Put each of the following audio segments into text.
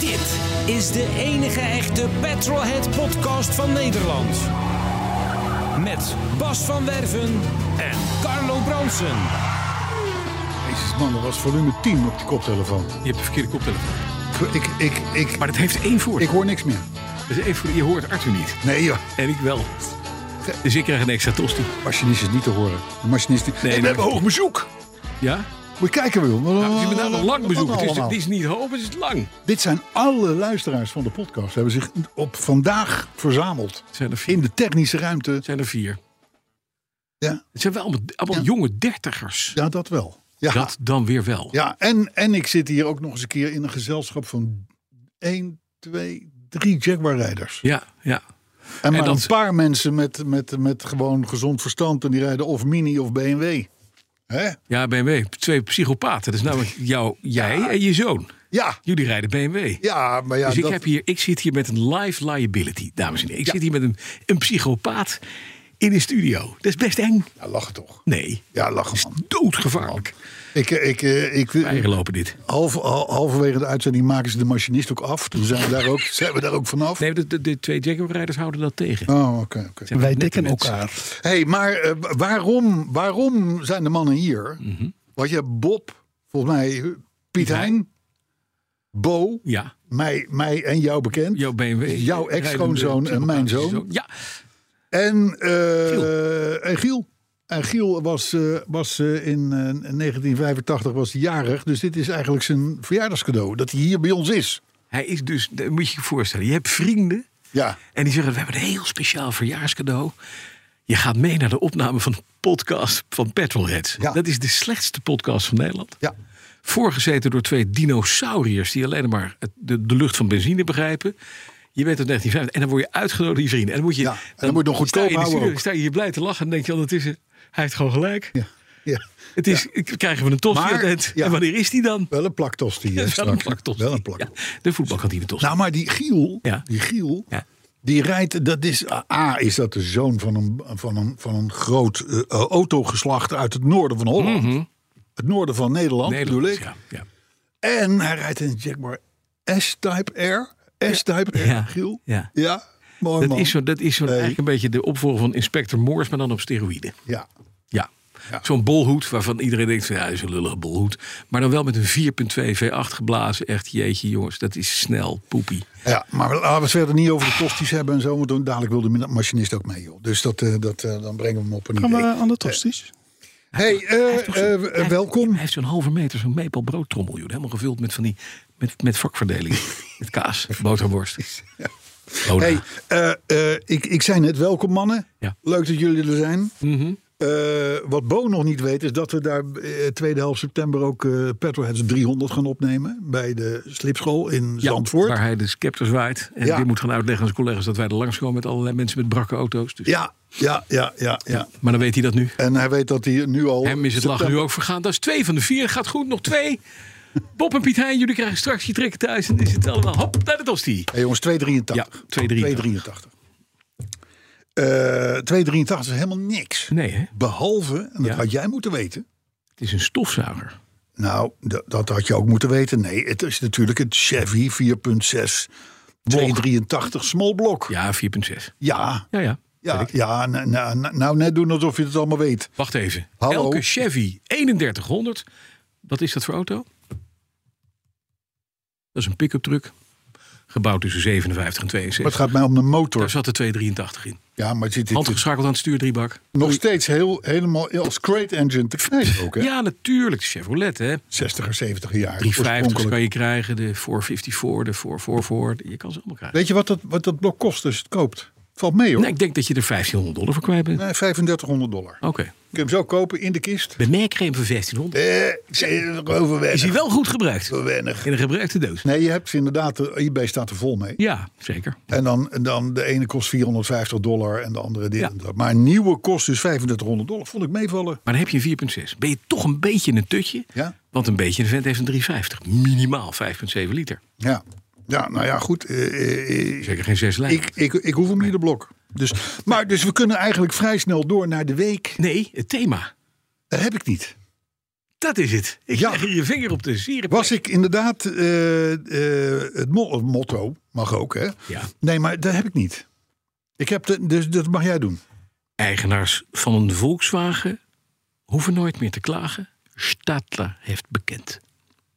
Dit is de enige echte Petrolhead podcast van Nederland. Met Bas van Werven en Carlo Bronsen. Jezus man, dat was volume 10 op die koptelefoon. Je hebt de verkeerde koptelefoon. Ik, ik, ik, Maar dat heeft één voor. ik hoor niks meer. Dus één voor- Je hoort Arthur niet. Nee joh, En ik wel. Dus ik krijg een extra tosti. machinist is niet te horen. De machinist is... Nee, we dat- hebben hoog bezoek. Ja? Moet je kijken joh. Nou, het is met name een lang Wat bezoek. nou Het is, allemaal? het is niet hoog, het is lang. Dit zijn alle luisteraars van de podcast. Hebben zich op vandaag verzameld. Het zijn er vier. In de technische ruimte. Het zijn er vier. Ja, Het zijn wel allemaal, allemaal Ja. jonge dertigers. ja dat wel. Ja, Dat dan weer wel. ja en, en ik zit hier ook nog eens een keer in een gezelschap van 1, 2, 3 Jaguar-rijders. Ja, ja. En maar dat- een paar mensen met, met, met gewoon gezond verstand. En die rijden of Mini of BMW. Hè? Ja, BMW. Twee psychopaten. Dat is namelijk jou, jij en je zoon. Ja, Jullie rijden BMW. ja, maar ja. dus ik, dat- heb hier, ik zit hier met een live liability, dames en heren. Ik zit hier met een, een psychopaat in de studio. Dat is best eng. Ja, lachen toch. Nee, Ja, lachen man. doodgevaarlijk. Ik, eh, ik, eh, ik, eh, Bijgelopen dit. half, hal- halverwege de uitzending maken ze de machinist ook af. Toen zijn we daar ook, zijn we daar ook vanaf. Nee, de, de, de twee Jaguar-rijders houden dat tegen. Oh, oké. oké. Zijn Wij nette dekken mensen. elkaar. hey, maar eh, waarom, waarom zijn de mannen hier? Mhm. Want je hebt Bob, volgens mij eh, Piet Hein, Bo, Ja, mij, mij en jou bekend. jouw BMW. Jouw ex-schoonzoon en mijn zoon. Ja, En, eh, en Giel. En Giel was, eh, was eh, in eh, 1985 was hij jarig. Dus dit is eigenlijk zijn verjaardagscadeau. Dat hij hier bij ons is. hij is dus, dat moet je je voorstellen. Je hebt vrienden Ja. en die zeggen, we hebben een heel speciaal verjaarscadeau. Je gaat mee naar de opname van de podcast van Petrolheads. Ja. Dat is de slechtste podcast van Nederland. Ja. Voorgezeten door twee dinosauriërs die alleen maar het- de, de lucht van benzine begrijpen. Je bent tot 1950 en dan word je uitgenodigd door je vrienden. En dan moet je, Ja, en dan moet je nog sta goedkoop in de houden studio, ook. sta je hier blij te lachen en denk je "Oh, ondertussen, hij heeft gewoon gelijk. ja. ja. Het is, ik- krijgen we een tosti Maar, aan het- ja. En wanneer is die dan? Wel een plaktosti. hè, Dat is wel een straks. plaktosti. Wel een plaktosti. Ja, de voetbalkantine tosti. Nou, maar die Giel, Ja. die Giel, Ja. die rijdt, dat is, A, is dat de zoon van een, van een, van een groot eh, eh, autogeslacht uit het noorden van Holland. Het noorden van Nederland, bedoel Nederlands, ik. Mhm. Oh, ja, ja. En hij rijdt een Jaguar S-Type R. S-Type R, Ja. Giel. Ja. mooi Dat man. is, zo, dat is zo Nee. eigenlijk een beetje de opvolger van Inspector Morse, maar dan op steroïden. Ja. Ja. Ja. Zo'n bolhoed waarvan iedereen denkt: van, ja, dat is een lullige bolhoed. Maar dan wel met een 4,2 V8 geblazen. Echt, jeetje, jongens, dat is snel poepie. ja, maar laten we het verder niet over de tosties hebben en zo. Want dan- dadelijk wil de machinist ook mee, joh. Dus dat, eh, dat, eh, dan brengen we hem op een Gaan we idee. aan de tosties? hey, eh, eh, eh, welkom. Hij heeft zo'n halve meter zo'n maple broodtrommel, joh. Helemaal gevuld met van die. Met, met vakverdeling. met kaas, boterworst. Oh, nou. Loda. Hey, eh, eh, ik, ik zei net, welkom mannen. Ja. Mhm. Leuk dat jullie er zijn. Eh, wat Bo nog niet weet, is dat we daar eh, tweede helft september ook eh Petrolheads 300 gaan opnemen. Bij de slipschool in Ja, Zandvoort. Waar hij de scepter zwaait. En Ja. weer moet gaan uitleggen aan zijn collega's dat wij er langskomen met allerlei mensen met brakke auto's. Dus, Ja, ja, ja, ja, ja. Maar dan weet hij dat nu. En hij weet dat hij nu al... Hem is het lachen nu ook vergaan. Dat is twee van de vier. Gaat goed, nog twee. Bob en Piet Hein, jullie krijgen straks je trekken thuis. En dan is het allemaal hop naar de tosti. Hey jongens, 2,83. Ja, 2,83. 2,83. Eh, 2,83 is helemaal niks. Nee, hè? Behalve, en dat Ja. had jij moeten weten. Het is een stofzuiger. Nou, d- dat had je ook moeten weten. Nee, het is natuurlijk het Chevy 4.6 283 small blok. Ja, Ja, 4,6. ja, Ja, ja. ja. na- na- na- nou, net doen alsof je het allemaal weet. Wacht even. Hallo? Elke Chevy 3100. Wat is dat voor auto? Dat is een pick-up truck. Gebouwd tussen 57 en Maar het 62. gaat mij om de Daar motor. zat de 283 in. Ja, maar het zit dit Handgeschakeld aan het stuurdriebak. nog steeds heel, helemaal als crate engine te krijgen ook, hè? Ja, natuurlijk. De Chevrolet, hè. 60er, 70er jaar. 350 oorspronkelijk. kan je krijgen. De 454, de 444. Je kan ze allemaal krijgen. Weet je wat dat, wat dat blok kost als je het koopt? Valt mee, hoor. Nee, ik denk dat je er 1500 dollar voor kwijt bent. Oh. Nee, 3500 dollar. Oké. je hem zo kopen in de kist. Bij mij kreeg je hem voor 1500. Eh, eh, over Is hij weinig. wel goed gebruikt? Over weinig. In een gebruikte doos. Nee, je hebt ze inderdaad, de eBay staat er vol mee. Ja, zeker. En dan, en dan de ene kost 450 dollar en de andere dit Ja. en dat. Maar een nieuwe kost dus 3500 dollar. Vond ik meevallen. Maar dan heb je een 4,6. Ben je toch een beetje een tutje? Ja. Want een beetje een vent heeft een 3,50. Minimaal 5,7 liter. Ja, ja nou ja, goed. eh, eh, eh, Zeker geen zes lijn. ik, ik, ik hoef hem niet de blok. Dus, maar dus we kunnen eigenlijk vrij snel door naar de week. Nee, het thema. Dat heb ik niet. Dat is het. Ik Ja. leg hier je vinger op de sieren. Was ik inderdaad eh, eh, het mo- het motto, mag ook hè? Ja. Nee, maar dat heb ik niet. Ik heb de, dus dat mag jij doen. Eigenaars van een Volkswagen hoeven nooit meer te klagen. Stadler heeft bekend.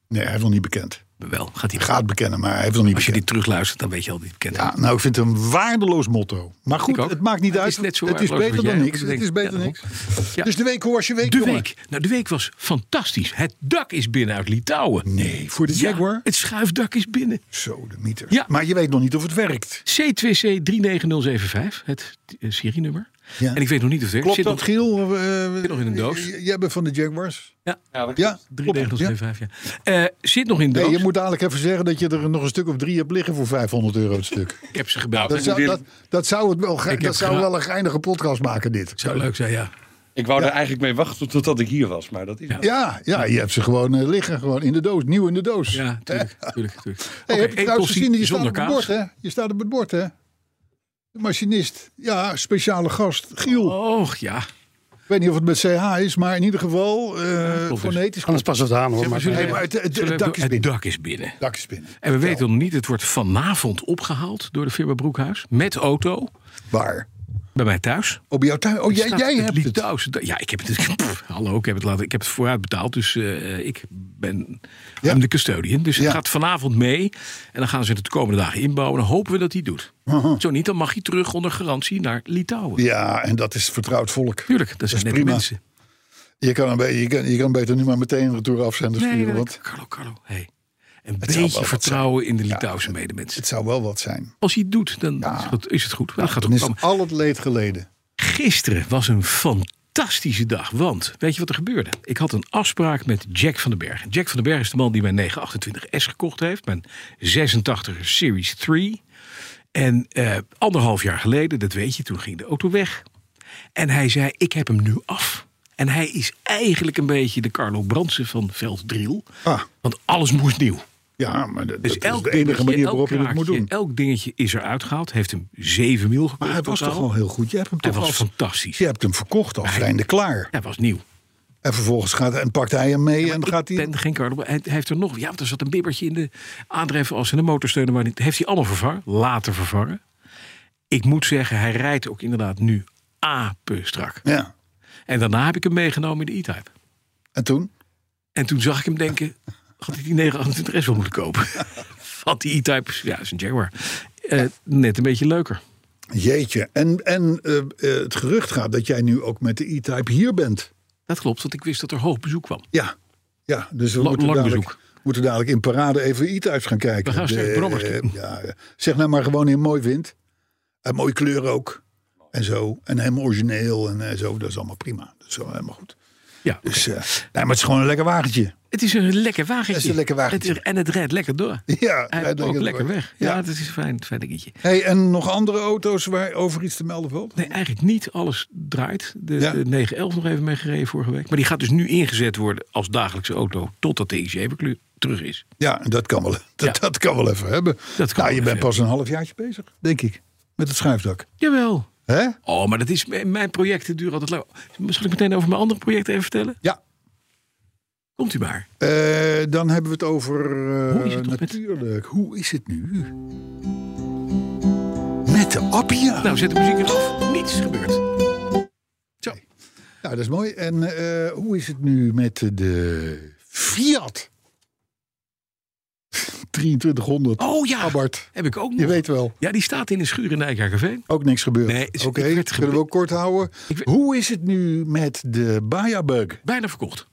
Nee, hij is nog niet bekend. Wel, gaat hij Gaat bekennen, maar hij heeft nog niet Als je bekend. dit terugluistert, dan weet je al die bekend. Ja, nou, ik vind het een waardeloos motto. Maar goed, Ik ook. het maakt niet Het uit. is net zo het is waardeloos beter wat dan jij niks. ook Het is denkt. beter dan Ja, niks. Ja. Dus de week, hoe was je week? De jongen? week. Nou, de week was fantastisch. Het dak is binnen uit Litouwen. Nee, voor de Ja, Jaguar? het schuifdak is binnen. Zo, de mieter. Ja. Maar je weet nog niet of het werkt. C2C 39075, het eh, serienummer. Ja. En ik weet nog niet of het Klopt zit dat, nog- Giel? Eh, zit nog in een doos. j- j- Jij bent van de Jaguars. Ja, Ja, klopt. Ja. 39075, ja. Eh, zit nog in de Nee, doos. je moet dadelijk even zeggen dat je er nog een stuk of drie hebt liggen voor 500 euro het stuk. Ik heb ze gebeld. Dat zou, dat, dat zou, het wel, ge- Ik dat heb zou gedaan. wel een geinige podcast maken, dit. Zou leuk zijn, ja. Ik wou er eigenlijk mee wachten totdat ik hier was, maar dat is. Ja, ja, je hebt ze gewoon eh, liggen, gewoon in de doos, nieuw in de doos. Ja, tuurlijk. tuurlijk, tuurlijk. Hey, Oké, heb je trouwens koffie gezien, dat je staat zonder op het kaas. bord, hè? Je staat op het bord, hè? De machinist. Ja, speciale gast. Giel. Och, ja. Ik weet niet of het met CH is, maar in ieder geval eh klopt dus. fonetisch. Anders pas het aan hoor. Maar Maar, zullen Nee, we- maar het, het- het zullen we- dak is Het binnen. dak is binnen. Dak is binnen. En we weten nog niet, het wordt vanavond opgehaald door de firma Broekhuis. Met auto. Waar? Bij mij thuis. Op jouw tuin? Oh, jij, Staat jij hebt het. Litouwse da- Ja, ik heb het. dus- pff, hallo, ik heb het, laten, ik heb het vooruit betaald. Dus eh, ik ben Ja. I'm de custodian. Dus het Ja. gaat vanavond mee. En dan gaan ze het de komende dagen inbouwen. Dan hopen we dat hij het doet. Zo niet, dan mag hij terug onder garantie naar Litouwen. Ja, en dat is vertrouwd volk. Tuurlijk, dat zijn net prima. mensen. Je kan, een beetje, je, kan, je kan beter nu maar meteen een retourafzender Nee, sturen. dat- want Carlo, Carlo, hey. Een zou wel beetje wat vertrouwen in de Litouwse medemensen. het zou wel wat zijn. Als hij het doet, dan is het- is het goed. Dat gaat Dan ook is komen. al het leed geleden. Gisteren was een fantastische dag. Want weet je wat er gebeurde? Ik had een afspraak met Jack van den Berg. Jack van den Berg is de man die mijn 928S gekocht heeft. Mijn 86 Series 3. En eh, anderhalf jaar geleden, dat weet je, toen ging de auto weg. En hij zei, ik heb hem nu af. En hij is eigenlijk een beetje de Carlo Brandsen van Velddriel. Ah. Want alles moest nieuw. Ja, maar dat, Dus dat is elk de enige dingetje, manier elk waarop je het moet kraakje, doen. Elk dingetje is eruit gehaald. Heeft hem 7 mil gekost. Maar hij was toch totaal. al heel goed. Je hebt hem Hij toch was als- fantastisch. Dus Je hebt hem verkocht als zijnde klaar. Hij was nieuw. En vervolgens gaat, en pakt hij hem mee en Ik gaat hij... ben geen Carlo. Hij, hij heeft er nog. Ja, want er zat een bibbertje in de aandrijf als in de motorsteunen. Maar niet. heeft hij allemaal vervangen. Later vervangen. Ik moet zeggen, hij rijdt ook inderdaad nu apenstrak. Ja. En daarna heb ik hem meegenomen in de E-Type. En toen? En toen zag ik hem denken, had ik die 928 S wel moeten kopen? Want die E-Type, ja, is een Jaguar. Eh, Net een beetje leuker. Jeetje. En, en eh, eh, het gerucht gaat dat jij nu ook met de E-Type hier bent. Dat klopt, want ik wist dat er hoog bezoek kwam. Ja. Ja, dus we Lang- moeten, lang dadelijk, bezoek. moeten dadelijk in parade even E-Types gaan kijken. We gaan sterk De- brommers doen. ja, ja. zeg nou maar gewoon in mooi wind. En mooie kleur ook. En zo. En helemaal origineel en eh, zo. Dat is allemaal prima. Dat is wel helemaal goed. Ja, Dus, eh, nee, maar het is gewoon een lekker wagentje. het is een lekker wagentje. Het is een lekker wagentje. Het is- en het rijdt lekker door. Ja, Hij rijdt rijdt ook lekker lekker door. weg. Ja. Ja, dat is een fijn, fijn dingetje. Hey, en nog andere auto's waar over iets te melden valt? Nee, eigenlijk niet. Alles draait. De, Ja. de 911 nog even meegereden vorige week. Maar die gaat dus nu ingezet worden als dagelijkse auto. Totdat de E IC terug is. Ja, en dat kan wel, dat, Ja. dat kan wel even hebben. Dat kan nou, wel je bent even pas een halfjaartje bezig, denk ik, met het schuifdak. Jawel. Hè? Oh, maar dat is, mijn mijn projecten duren altijd lang. Zal ik meteen over mijn andere projecten even vertellen? Ja. Komt u maar. Eh, dan hebben we het over... eh, Hoe is het toch met- natuurlijk, hoe is het nu? Met de Appia. Nou, Nou, zet de muziek eraf. Niets gebeurt. Zo. Nou, dat is mooi. En eh, hoe is het nu met de Fiat? 2300 Oh ja, Abarth. heb ik ook nog. Ah, Je weet wel. Ja, die staat in een schuur in Nijkerkerveen. Ook niks gebeurd. Nee, is- Oké, ik werd kunnen we gebe- ook kort houden. Ik werd- Hoe is het nu met de Bayabug? Bijna verkocht.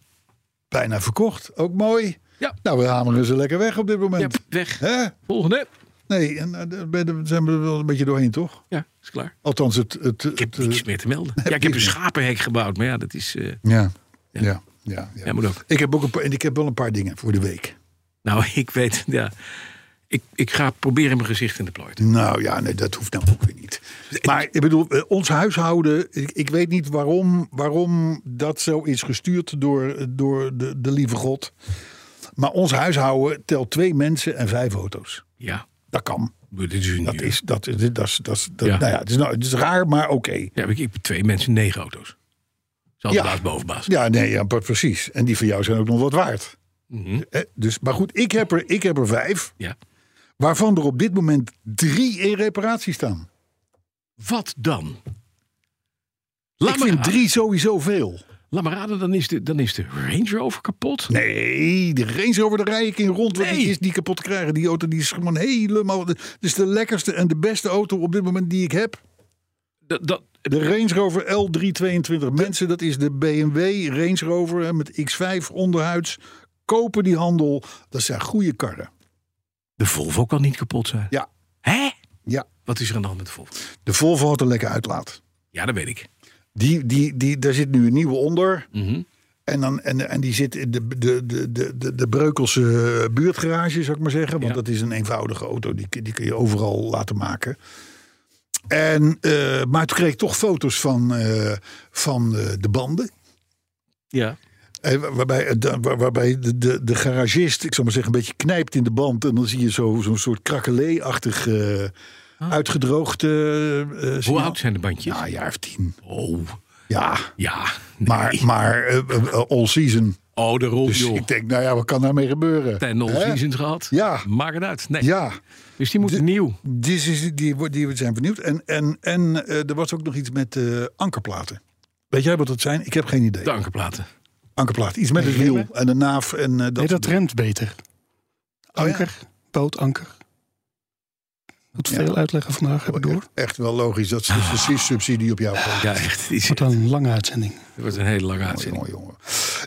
Bijna verkocht, ook mooi. Ja. Nou, we hameren ze lekker weg op dit Ja, moment. weg. Hè? Volgende. Nee, en eh, daar ben- daar zijn we wel een beetje doorheen, toch? Ja, is klaar. Althans, het... het, Ik heb het, eh, niks meer te melden. Ja, ik heb een schapenhek gebouwd, maar ja, dat is... eh, Ja, ja, ja. ja, ja, moet ook. Ik heb, ook een paar, en ik heb wel een paar dingen voor de week. Nou, ik weet, ja. Ik, ik ga proberen mijn gezicht in de plooi te Nou ja, nee, dat hoeft nou ook weer niet. Maar ik bedoel, eh, ons huishouden. Ik, ik weet niet waarom, waarom dat zo is gestuurd door, door de, de lieve God. Maar ons huishouden telt twee mensen en vijf auto's. Ja, Dat kan. maar dit is een Dat uur. is, dat, dat, dat, is- dat, is- dat- Ja. Nou ja, het, is, nou, het is raar, maar oké. Ja, ik heb twee mensen, negen auto's. Zal Ja. baas bovenbaas. Ja, nee, ja, pre- precies. En die van jou zijn ook nog wat waard. Mhm. Eh, Dus, maar goed, ik heb, er, ik heb er vijf, ja. waarvan er op dit moment drie in reparatie staan. Wat dan? Laat ik maar, vind raden. drie sowieso veel. Laat maar raden, dan is, de, dan is de Range Rover kapot. Nee, de Range over de rij ik in rond. want Nee. Die is niet kapot te krijgen. Die auto die is gewoon helemaal... Het is de lekkerste en de beste auto op dit moment die ik heb. Dat, dat, De Range Rover L322. Mensen, dat is de BMW Range Rover hè, met X5 onderhuids. Kopen die handel. Dat zijn goede karren. de Volvo kan niet kapot zijn. Ja, Hè? ja. Wat is er aan de hand met de Volvo? De Volvo had een lekker uitlaat. Ja, dat weet ik. Die, die, die, daar zit nu een nieuwe onder. Mhm. En, dan, en, en die zit in de, de, de, de, de, de Breukelse eh, buurtgarage, zou ik maar zeggen. Want Ja. dat is een eenvoudige auto. Die, kun- die kun je overal laten maken. En, eh, maar toen kreeg ik toch foto's van, eh, van eh, de banden. Ja. Eh, waar- waarbij eh, de, waar- waarbij de, de, de garagist, ik zou maar zeggen, een beetje knijpt in de band. En dan zie je zo- zo'n soort krakelee-achtig eh, uitgedroogd. eh, eh, Ah. Hoe signaal. oud zijn de bandjes? Ja, een jaar of tien. Oh, Ja, ja. maar, maar eh, eh, all season. Oh, de rol, Dus joh. ik denk, nou ja, wat kan daarmee gebeuren? Ten nul Hè? seasons gehad. Ja. Maak het uit. Nee. Ja, Dus die moet De- nieuw. die, is- die, wo- die zijn vernieuwd. En, en, en eh, er was ook nog iets met eh, ankerplaten. Weet jij wat dat zijn? Ik heb geen idee. De ankerplaten. Ankerplaten. Iets met het wiel en de naaf. En, eh, dat nee, soort Oh dat Oh, remt beter. ja. Anker, bootanker. Moet Ja. veel uitleggen vandaag, heb ik dingen. door. Oh, e- Echt wel logisch. Dat is dus precies subsidie op jou. Ah. Ja, echt. Die is- Wordt dan een lange uitzending. Het wordt een hele lange uitzending. Jongen, jongen.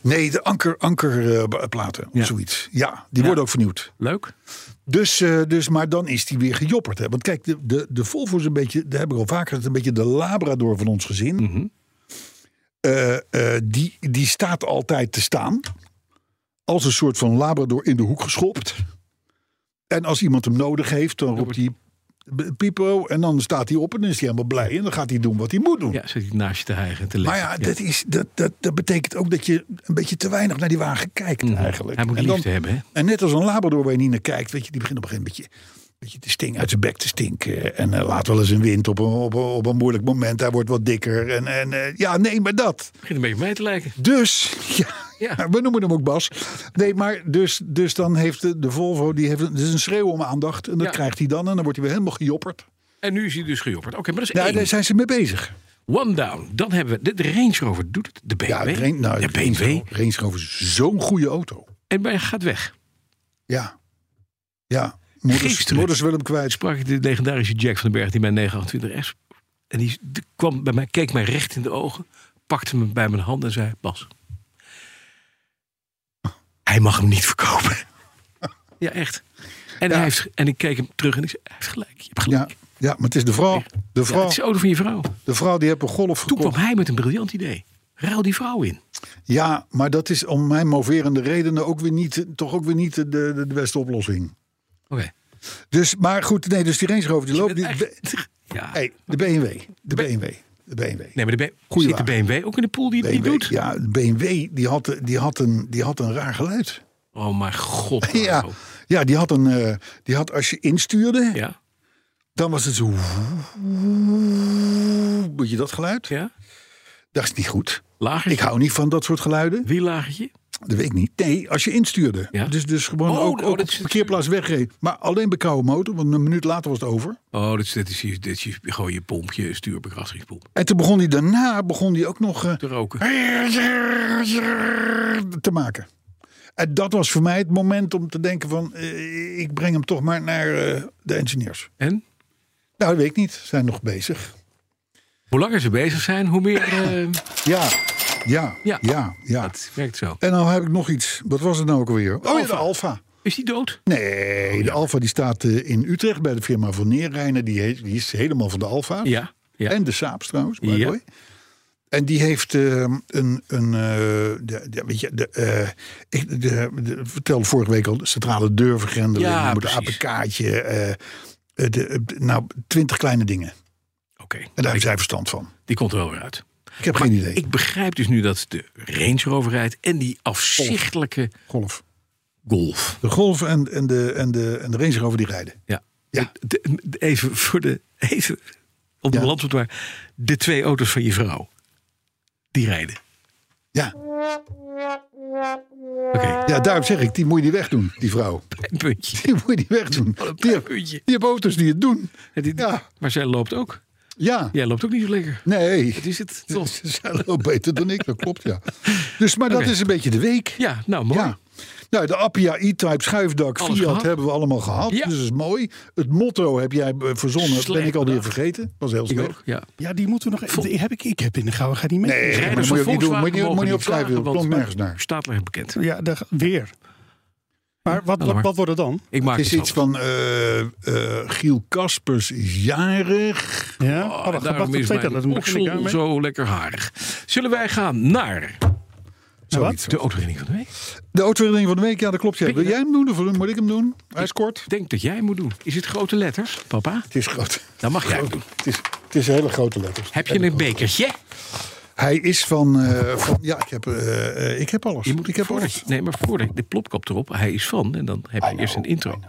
Nee, de anker, ankerplaten. of Ja. Zoiets. Ja, die worden ook vernieuwd. Leuk. Dus, eh, dus, maar dan is die weer gejopperd. Hè? Want kijk, de, de, de Volvo is een beetje, daar heb ik al vaker gezegd, een beetje de labrador van ons gezin. Eh, eh, die, die staat altijd te staan. Als een soort van labrador in de hoek geschopt. En als iemand hem nodig heeft, dan roept hij "B- Pipo. En dan staat hij op en dan is hij helemaal blij. En dan gaat hij doen wat hij moet doen. Ja, zit hij naast je te hijgen en te lezen. Maar ja, dat, is, dat, dat, dat betekent ook dat je een beetje te weinig naar die wagen kijkt eigenlijk. Mhm. Hij moet en dan- liefde hebben, hè? en net als een labrador waar je niet naar kijkt, weet je, die begint op een gegeven moment een beetje, een beetje te stinken, uit zijn bek te stinken. En eh, laat wel eens een wind op een, op, een, op een moeilijk moment. Hij wordt wat dikker. En, en eh, ja, nee, maar dat. Begint een beetje op mij te lijken. Dus, ja, Ja. we noemen hem ook Bas. Nee, maar dus, dus dan heeft de, de Volvo, die heeft een, dus een schreeuw om aandacht. En dat Ja. krijgt hij dan en dan wordt hij weer helemaal gejopperd. En nu is hij dus gejopperd. Oké, maar dat is Ja, één. daar zijn ze mee bezig. One down. Dan hebben we... De, de Range Rover doet het. De BMW. Ja, de Ren- nou, de BMW. Range Rover is zo'n goede auto. En bij gaat weg. Ja. Ja. Moeders, Gisteren. moeders willen hem kwijt. Sprak ik de legendarische Jack van den Berg, die mijn 928 S... En die die kwam bij mij, keek mij recht in de ogen, pakte me bij mijn hand en zei... Bas, hij mag hem niet verkopen. ja, echt. En, hij heeft, en ik keek hem terug en ik zei, hij heeft gelijk. Je hebt Ja, gelijk. ja, maar het is de vrouw. De Ja, vrouw, het is de auto van je vrouw. de vrouw die heeft een golf Toen gekocht. kwam hij met een briljant idee. Ruil die vrouw in. Ja, maar dat is om mijn moverende redenen ook weer niet, toch ook weer niet de, de, de beste oplossing. Oké. Dus, maar goed, nee, dus die Range Rover die loopt. Die, Ja. hey, de BMW. De BMW. De BMW. Nee, maar de, B- Goeie zit de BMW ook in de pool die het niet BMW, doet? Ja, de BMW die had, die, had een, die had een raar geluid. Oh mijn god. Ja, Marco. ja die, had een, eh, die had als je instuurde, Ja. dan was het zo. Moet je dat geluid? ja. Dat is niet goed. Lagertje. Ik hou niet van dat soort geluiden. Wielagertje. Dat weet ik niet. Nee, als je instuurde. Ja. Dus, dus gewoon Oh, ook, oh, ook dat op is- de parkeerplaats wegreed. Maar alleen bij koude motor, want een minuut later was het over. Oh, dit is, dit is, je- dit is je- gewoon je pompje, stuurbekrachtigingspomp. En toen begon hij daarna begon hij ook nog eh, Te roken. te maken. En dat was voor mij het moment om te denken van... eh, ik breng hem toch maar naar eh, de engineers. En Nou, dat weet ik niet. Ze zijn nog bezig. hoe langer ze bezig zijn, hoe meer... eh, Ja, ja, Ja. ja, ja. Het werkt zo. En nou heb ik nog iets. Wat was het nou ook alweer? Oh, ja, de Oh, Alfa. Is die dood? Nee, de Alfa die staat eh, in Utrecht bij de firma van Neerrijnen. Die, he- die is helemaal van de Alfa. Ja. ja. En de Saabs trouwens, by the Ja. way. En die heeft eh, een, een eh, de, de- weet je, de, eh, ik de, de- vertelde vorige week al, de centrale deurvergrendeling, Ja, moet een precies. APK'tje, eh, eh, de, eh, nou, twintig kleine dingen. Oké, En daar heeft zij verstand van. die komt er wel weer uit. Ik heb Maar geen idee. Ik begrijp dus nu dat de Range Rover rijdt en die afzichtelijke golf. Golf. De Golf en, en, de, en, de, en de Range Rover die rijden. Ja. Ja. De- de- even voor de. Even op de Ja. balans moeten waar. De twee auto's van je vrouw. Die rijden. Ja, Oké. ja daarom zeg ik, die moet je die wegdoen, die vrouw. Een puntje. Die moet je die wegdoen. Wat een Die, heb- puntje. die hebben auto's die het doen. Ja, die- Ja. Maar zij loopt ook. Ja, Jij loopt ook niet zo lekker. nee. Het is het toch? Ze zijn wel beter dan ik, dat klopt, ja. Dus, maar Oké. dat is een beetje de week. Ja, nou mooi. Ja. Nou, de Appia E-Type schuifdak Alles Fiat gehad. hebben we allemaal gehad. Ja. Dus dat is mooi. Het motto heb jij eh, verzonnen. Slecht ben ik alweer bedacht. vergeten. Was heel Ik slecht. ook. Ja. Ja, die moeten we nog. Die heb ik, ik heb in de gauw ga die mee. Nee, maar dat Rijders moet je ook van niet doen. Moet je, moet je Volkswagen mogen niet niet opschrijven. klagen, Dat want- klonk nergens naar. Staat ligt bekend. Ja, daar, weer. Maar wat, Laat maar. wat, wat wordt het dan? Ik maak Het is het iets wel. van eh, eh, Giel Kaspers is jarig. Ja, Oh, oh, wacht, daarom wacht, is dat mijn dat moet ik oksel slikken. zo lekker harig. Zullen wij gaan naar Wat? de autorinning van de week? De autoherinnering van de week, ja, dat klopt. Ja. Pik je Wil jij hem doen of moet ik hem doen? Hij is kort. Ik denk dat jij moet doen. Is het grote letters, papa? Het is groot. Dan mag jij het doen. Het is, het is hele grote letters. Heb je een bekertje? Hij is van, eh, van ja, ik heb, eh, eh, ik heb alles. Je moet, ik heb voordat alles. je, nee, maar voordat je de plopkap erop, hij is van. En dan heb je eerst een intro.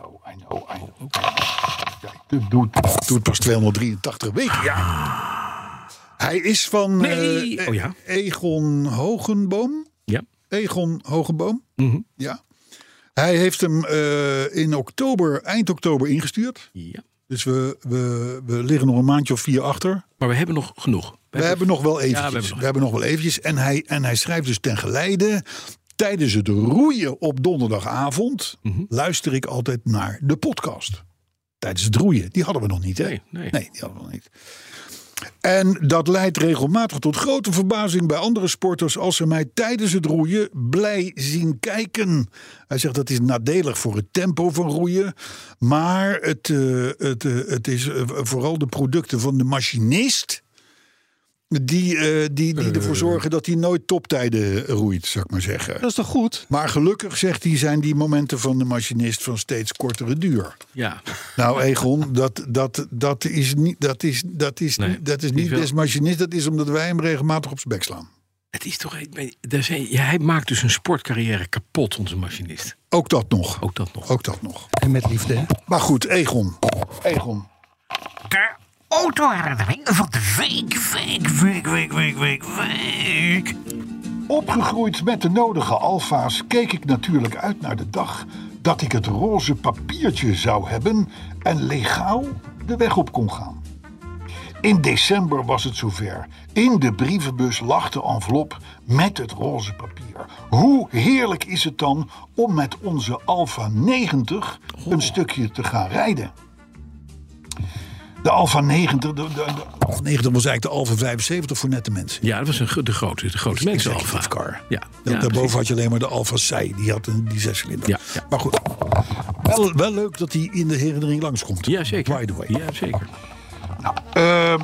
Doe het pas 283 weken. Ja. Hij is van Nee. eh, Oh ja. Egon Hogenboom. Ja. Egon Hogenboom. Mhm. Ja. Hij heeft hem eh, in oktober, eind oktober ingestuurd. ja. Dus we, we, we liggen nog een maandje of vier achter. Maar we hebben nog genoeg. We We hebben nog wel eventjes. we hebben we, nog. hebben nog wel eventjes. En hij, en hij schrijft dus ten geleide. Tijdens het roeien op donderdagavond Mhm. luister ik altijd naar de podcast. Tijdens het roeien. Die hadden we nog niet, hè? Nee, nee. die hadden we nog niet. En dat leidt regelmatig tot grote verbazing bij andere sporters als ze mij tijdens het roeien blij zien kijken. Hij zegt dat is nadelig voor het tempo van roeien, maar het, eh, het, eh, het is eh, vooral de producten van de machinist die, eh, die, die ervoor zorgen dat hij nooit toptijden eh, roeit, zou ik maar zeggen. Dat is toch goed? Maar gelukkig, zegt hij, zijn die momenten van de machinist van steeds kortere duur. Ja. Nou, Egon, dat, dat, dat is niet, dat is, dat is, Nee, niet- dat is niet niet wel. des machinist. Dat is omdat wij hem regelmatig op zijn bek slaan. Het is toch... ik ben- daar zijn- ja, hij maakt dus een sportcarrière kapot, onze machinist. Ook dat nog. Ook dat nog. Ook dat nog. En met liefde. hè? Maar goed, Egon. Egon. De autoherinnering van de week, week, week, week, week, week, week. Opgegroeid met de nodige alfa's keek ik natuurlijk uit naar de dag dat ik het roze papiertje zou hebben en legaal de weg op kon gaan. In december was het zover. In de brievenbus lag de envelop met het roze papier. Hoe heerlijk is het dan om met onze Alfa 90 een stukje te gaan rijden? De Alfa 90, de, de, de Alfa 90 was eigenlijk de Alfa 75 voor nette mensen. Ja, dat was een, gro- de grote, de grote mensen Executive alfa. car. Ja. Da- ja, daarboven precies. had je alleen maar de Alfa Sei. Die had een, die zescilinder. Ja, ja. Maar goed, wel, wel leuk dat hij in de Herenring langskomt. Ja, zeker. By the way. Oh. Ja, zeker. Eh, eh,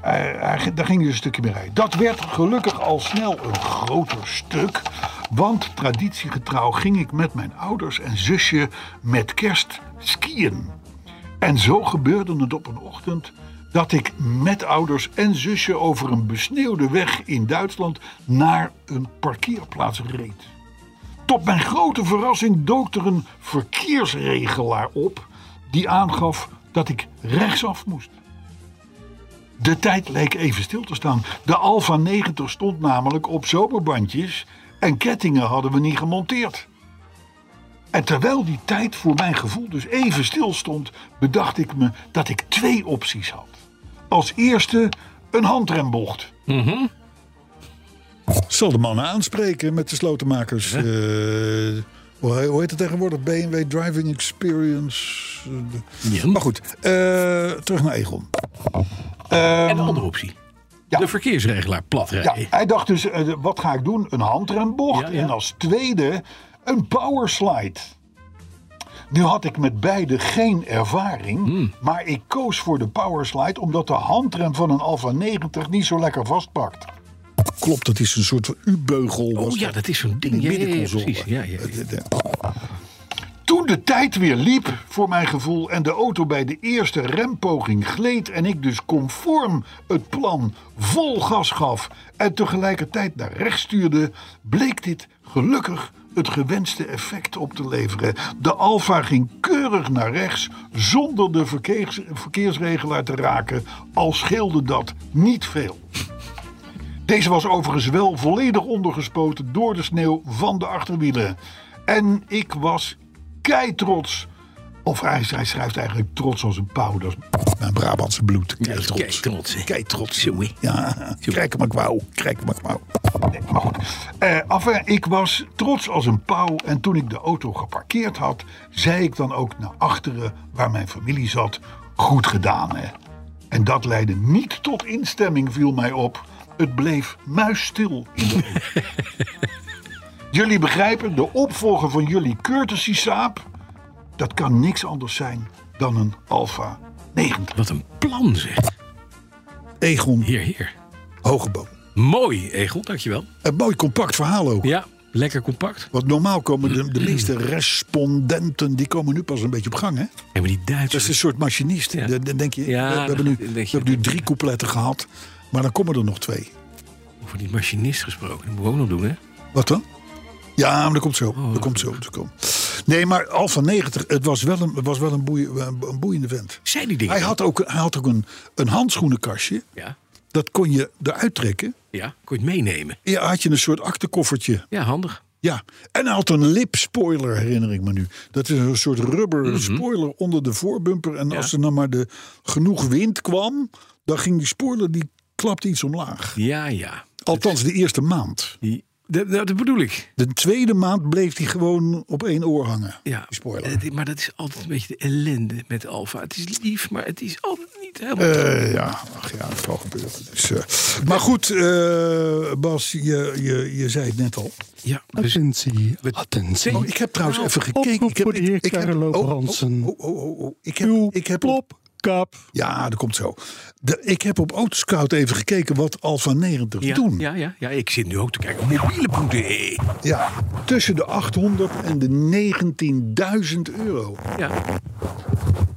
hij- hij- daar ging dus een stukje mee rijden. Dat werd gelukkig al snel een groter stuk. Want traditiegetrouw ging ik met mijn ouders en zusje met kerst skiën. En zo gebeurde het op een ochtend dat ik met ouders en zusje over een besneeuwde weg in Duitsland naar een parkeerplaats reed. Tot mijn grote verrassing dook er een verkeersregelaar op die aangaf dat ik rechtsaf moest. De tijd leek even stil te staan. De Alfa 90 stond namelijk op zomerbandjes en kettingen hadden we niet gemonteerd. En terwijl die tijd voor mijn gevoel dus even stil stond, bedacht ik me dat ik twee opties had. Als eerste een handrembocht. Zal de mannen aanspreken met de slotenmakers. Eh, hoe heet het tegenwoordig? BMW Driving Experience. Ja. Maar goed, eh, terug naar Egon. En de andere optie. ja. De verkeersregelaar Ja, platrijden. hij dacht dus, eh, wat ga ik doen? Een handrembocht Ja, ja. en als tweede een powerslide. Nu had ik met beide geen ervaring, Hmm. maar ik koos voor de Powerslide omdat de handrem van een Alfa 90 niet zo lekker vastpakt. Klopt, dat is een soort van U-beugel. was Oh ja, dat is zo'n ding. In de Ja, ja, ja, middenconsole. precies. Ja, ja, ja. Toen de tijd weer liep, voor mijn gevoel, en de auto bij de eerste rempoging gleed en ik dus conform het plan vol gas gaf en tegelijkertijd naar rechts stuurde, bleek dit gelukkig het gewenste effect op te leveren. De Alfa ging keurig naar rechts zonder de verkeers- verkeersregelaar te raken, al scheelde dat niet veel. Deze was overigens wel volledig ondergespoten door de sneeuw van de achterwielen. En ik was kei trots. Of hij, hij schrijft eigenlijk trots als een pauw. Dat is mijn Brabantse bloed. Kei Kijk, trots. trots. hè. Kei trots. Ja, kijk maar kwauw. Kijk maar kwauw. Nee, maar goed. Eh, enfin, ik was trots als een pauw. En toen ik de auto geparkeerd had, zei ik dan ook naar achteren waar mijn familie zat. Goed gedaan, hè. En dat leidde niet tot instemming, viel mij op. Het bleef muisstil in de auto. Jullie begrijpen, de opvolger van jullie courtesy saap... dat kan niks anders zijn dan een Alfa 90. Wat een plan zeg. Egon Hier, hier. Hogeboom. Mooi, Egel. Dankjewel. Een mooi compact verhaal ook. Ja, lekker compact. Want normaal komen de, de meeste respondenten... die komen nu pas een beetje op gang, hè? En maar die Dat is Duitsers. een soort machinist. Ja. Dan dan denk je, Ja, we, we hebben dan nu, denk je- we hebben nu drie coupletten gehad... maar dan komen er nog twee. Over die machinist gesproken. Dat moeten we ook nog doen, hè? Wat dan? Ja, maar dat komt zo. Oh. dat komt zo. Dat komt. Nee, maar Alfa 90, het was wel een, het was wel een, boeie- een een boeiende vent. Zijn die dingen? Hij had ook, hij had ook een, een handschoenenkastje. Ja. Dat kon je eruit trekken. Ja, kon je het meenemen. Ja, had je een soort aktekoffertje. Ja, handig. Ja. En hij had een lipspoiler, herinner ik me nu. Dat is een soort rubber spoiler onder de voorbumper. En als er dan maar de, genoeg wind kwam, dan ging die spoiler, die klapte iets omlaag. Ja, ja. Althans, de eerste maand. Die, dat, dat dat bedoel ik. De tweede maand bleef die gewoon op één oor hangen. Ja, Die spoiler. Eh, maar dat is altijd een beetje de ellende met Alfa. Het is lief, maar het is altijd niet helemaal. Eh, ja, ach ja, het zal gebeuren. Dus, eh, maar goed, eh, Bas, je, je, je zei het net al. ja, dus, Attentie, attentie. Oh, ik heb trouwens even op gekeken. Ik heb, Nou, voor de heer ik, ik heb, Carlo oh, oh, Bransen. Oh, oh, oh, oh. Ik heb, Uw ik heb op, plopkap. ja, dat komt zo. De, ik heb op Autoscout even gekeken wat Alfa 90 ja, doen. Ja, ja, ja, ik zit nu ook te kijken. Mobiele boete. Ja, tussen de 800 en de 19.000 euro. Ja.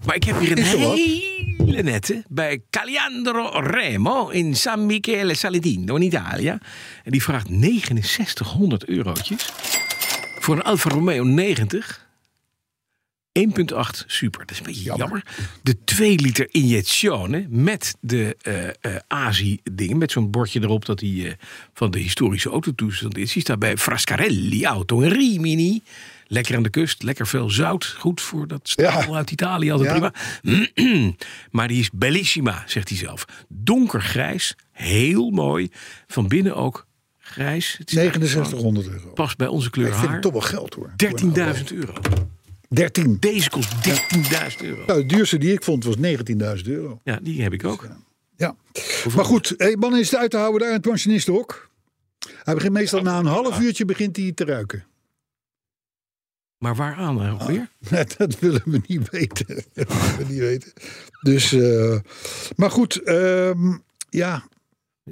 Maar ik heb hier een Is er wat? hele nette bij Caliandro Remo in San Michele Saladino in Italië. En die vraagt 6900 eurotjes voor een Alfa Romeo 90. 1.8 super, dat is een beetje jammer. De 2 liter injectione met de eh ASI-dingen, met zo'n bordje erop dat die eh, van de historische autotoestand is. Die staat bij Frascarelli Auto in Rimini. Lekker aan de kust, lekker veel zout. Goed voor dat staal Ja. uit Italië, altijd prima. maar die is bellissima, zegt hij zelf. Donkergrijs, heel mooi. Van binnen ook grijs. Het is gewoon- 6900 euro. Past bij onze kleur Ik vind haar. het toch wel geld hoor. 13.000 euro. 13. Deze kost 13.000 euro. Nou, de duurste die ik vond was 19.000 euro. Ja, die heb ik ook. Ja. Maar goed, hey, mannen is het uit te houden daar in het pensionistenhok. Hij begint meestal na een half uurtje begint hij te ruiken. Maar waaraan Oh. eh, ongeveer? Dat willen we niet weten. Dat willen we niet weten. Dus, eh, maar goed, ehm, ja,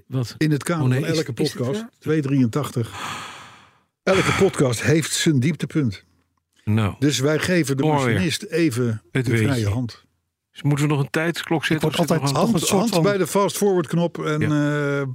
Wat? in het kader Oh nee, van is- elke is dit podcast, waar? 283. Elke podcast heeft zijn dieptepunt. Nou, Dus wij geven de Mooi. machinist even Het de weetje. vrije hand. dus moeten we nog een tijdsklok zetten? Ik Of word zit er altijd nog Toch een Hand, soort hand van- bij de fast forward knop en eh,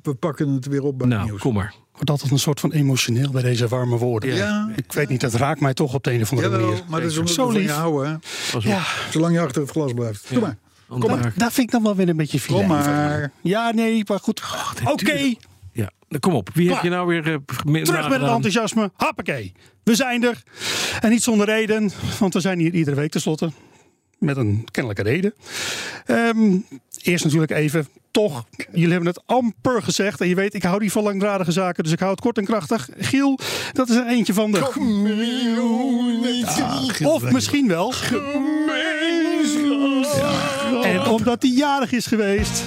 we pakken het weer op bij een- het Nou, nieuws. kom maar. Ik word altijd een soort van emotioneel bij deze warme woorden. Ja, Ik weet niet, dat raakt mij toch op de een of andere jawel, manier. maar dat is omdat Zo we van je lief. houden. hè. Pas op. Ja, Zolang je achter het glas blijft. Doe maar. kom daar, daar vind ik dan wel weer een beetje filet. Kom maar. Ja, nee, maar goed. Oké, natuurlijk. Ja, nou, kom op. Wie heb Klaar. je nou weer... eh, me- terug met het nagedaan? enthousiasme. Hoppakee. We zijn er. En niet zonder reden, want we zijn hier iedere week tenslotte. Met een kennelijke reden. Ehm, eerst natuurlijk even, toch, jullie hebben het amper gezegd. En je weet, ik hou niet van langdradige zaken, dus ik hou het kort en krachtig. Giel, dat is er eentje van de... Of misschien wel. En omdat hij jarig is geweest.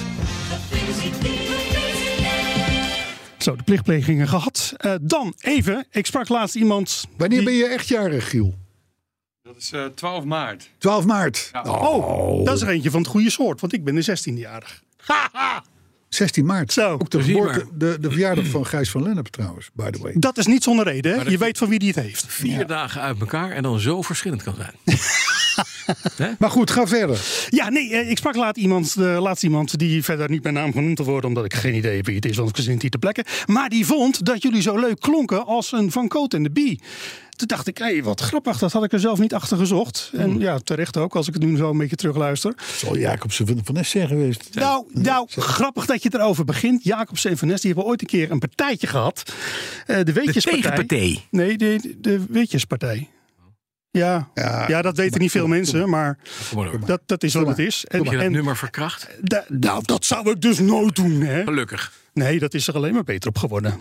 Zo, de plichtplegingen gehad. Eh, dan even, ik sprak laatst iemand. Wanneer ben je echt jarig, Giel? Dat is eh, 12 maart. 12 maart. Oh, dat is er eentje van het goede soort, want ik ben de 16-jarig. 16 maart. Zo. Ook de, Zie je geboorte, de, de verjaardag van Gijs van Lennep trouwens, by the way. Dat is niet zonder reden, hè? Je weet van wie die het heeft. Vier dagen uit elkaar en dan zo verschillend kan zijn. Maar goed, ga verder. Ja, nee, eh, ik sprak laat iemand, eh, laatst iemand die verder niet bij naam genoemd te worden, omdat ik geen idee heb wie het is, want ik zit hier te plekken. Maar die vond dat jullie zo leuk klonken als een Van Coot en de Bie. Toen dacht ik, hé, wat grappig, dat had ik er zelf niet achter gezocht. Hmm. En ja, terecht ook, als ik het nu zo een beetje terugluister. Zal Jacobsen van, van zijn geweest? Nou, nou grappig dat je het erover begint. Jacob Sevenes, die hebben ooit een keer een partijtje gehad. Eh, de Weetjespartij. tegenpartij. Nee, de, de Weetjespartij. Ja, ja, Ja, dat weten niet veel mensen, maar Kom maar door. dat, dat is wat het is. En, Heb je dat en nummer verkracht? da- nou, dat zou ik dus nooit doen, hè? Gelukkig. Nee, dat is er alleen maar beter op geworden.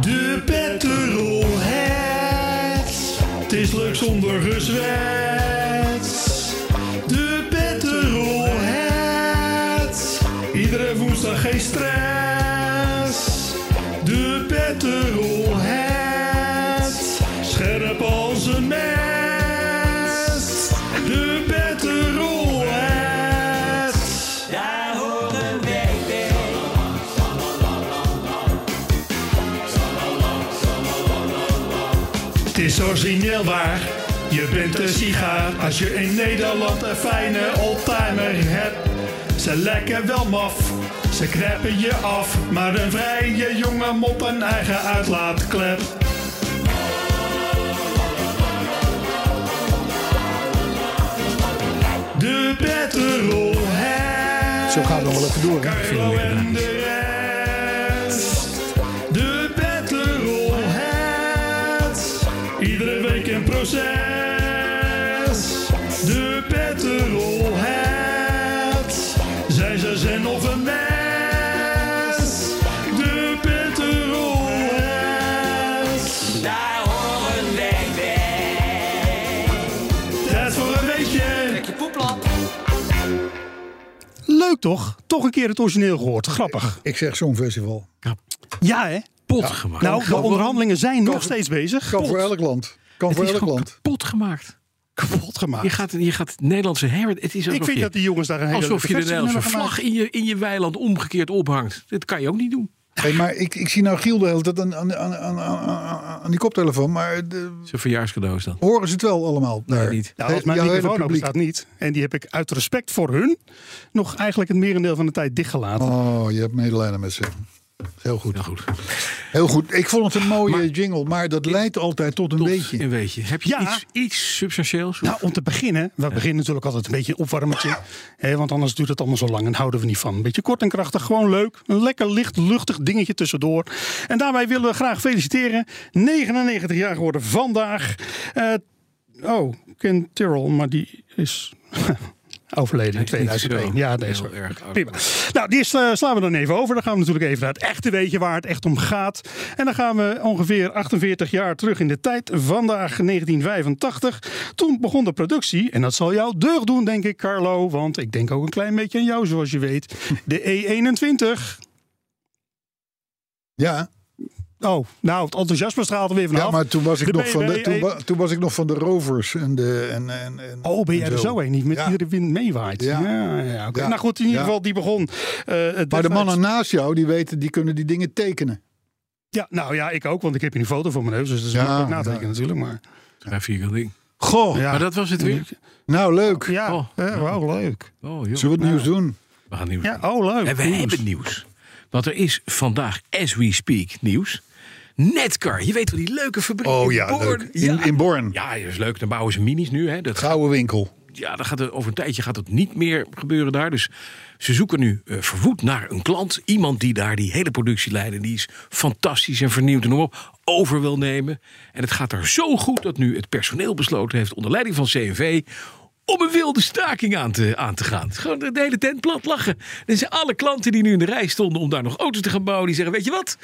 De Petterolheads. Het is leuk zonder gezwets. De Petterolheads. Iedere woensdag geen stress. De Petterolheads. Scherp als een mes. De Petterolheads. Het is origineel waar. Je bent een sigaar als je in Nederland een fijne oldtimer hebt. Ze lekken wel maf, ze knappen je af. Maar een vrije jongen mot een eigen uitlaatklep. De Petterolhead. Zo gaan we nog wel even door. hè? Carlo en de rest. De Petterolheads. Iedere week een proces. De Petterolheads. Zij ze zijn of een mes. De Petterolheads. Daar horen wij bij. Tijd voor een weetje. Leuk toch? Toch een keer het origineel gehoord. Grappig. Ik zeg Songfestival. Ja, hè? Pot gemaakt. Nou, de Kapot. onderhandelingen zijn nog Kapot. steeds bezig. Kan voor Kapot. elk land. Kan het voor is elk gewoon land. kapot gemaakt. kapot gemaakt. Je gaat, je gaat het Nederlandse heritage... Het is alsof ik vind je, dat die jongens daar een hele alsof je de leuke versie Nederlandse van hebben vlag in je, in je weiland omgekeerd ophangt. Dat kan je ook niet doen. Hey, maar ik, ik zie nou Giel de hele tijd aan, aan, aan, aan, aan- aan die koptelefoon. Maar eh, de- Zijn verjaarscadeau is dat. horen ze het wel allemaal? daar? niet. gemaakt. Nou, als mijn Jouw hele microfoon open publiek. staat niet. En die heb ik uit respect voor hun nog eigenlijk het merendeel van de tijd dichtgelaten. Oh, je hebt medelijden met ze. Heel goed. Nou goed, Heel goed. Ik vond het een mooie jingle, maar dat leidt altijd tot een tot beetje. een beetje. Heb je Ja. iets, iets substantieels? Nou, om te beginnen. We beginnen natuurlijk altijd een beetje een opwarmertje. Hè, want anders duurt het allemaal zo lang en houden we niet van. Een beetje kort en krachtig, gewoon leuk. Een lekker licht, luchtig dingetje tussendoor. En daarbij willen we graag feliciteren. 99 jaar geworden vandaag. Eh, oh, Ken Tyrrell, maar die is overleden is in niet 2001. zo Ja, dat is heel wel erg oud. Prima. Nou, die is, eh, slaan we dan even over. Dan gaan we natuurlijk even naar het echte weetje waar het echt om gaat. En dan gaan we ongeveer 48 jaar terug in de tijd. Vandaag 1985. Toen begon de productie. En dat zal jou deugd doen, denk ik, Carlo. Want ik denk ook een klein beetje aan jou, zoals je weet. De E E21. Ja, Oh, nou, het enthousiasme straalt er weer vanaf. ja, maar toen was, De ik nog van de, BB toen, wa- toen was ik nog van de Rovers. En de, en, en, en, Oh, ben jij en er zo heen? Niet met Ja. iedere wind meewaait. Ja, Ja. ja, oké. Ja. Nou goed, in ieder Ja. geval, die begon. eh, het Maar de destijds- mannen naast jou, die weten, die kunnen die dingen tekenen. Ja, nou ja, ik ook, want ik heb hier een foto voor mijn neus. Dus dat is Ja, makkelijk natekenen ja. natuurlijk. Maar, Ja, vierkant ding. Goh, ja. Maar dat was het weer. nou leuk. Ja, Oh. eh, wauw, leuk. Oh, joh. Zullen we het nieuws doen? We gaan nieuws Ja, doen. oh, leuk. En we Nieuws. hebben nieuws. Want er is vandaag, as we speak, nieuws. Netcar, je weet wel die leuke fabriek. Oh in ja, Born. leuk. In, in Born. Ja, dat is leuk. Dan bouwen ze minis nu. Hè. Dat, Gouden winkel. ja, dat gaat, er- over een tijdje gaat dat niet meer gebeuren daar. Dus ze zoeken nu eh, verwoed naar een klant. Iemand die daar die hele productie leidt. En die is fantastisch en vernieuwd en noem op. Over wil nemen. En het gaat daar zo goed dat nu het personeel besloten heeft... onder leiding van CNV om een wilde staking aan te, aan te gaan. Gewoon de hele tent plat lachen. Er zijn alle klanten die nu in de rij stonden om daar nog auto's te gaan bouwen... die zeggen, weet je wat,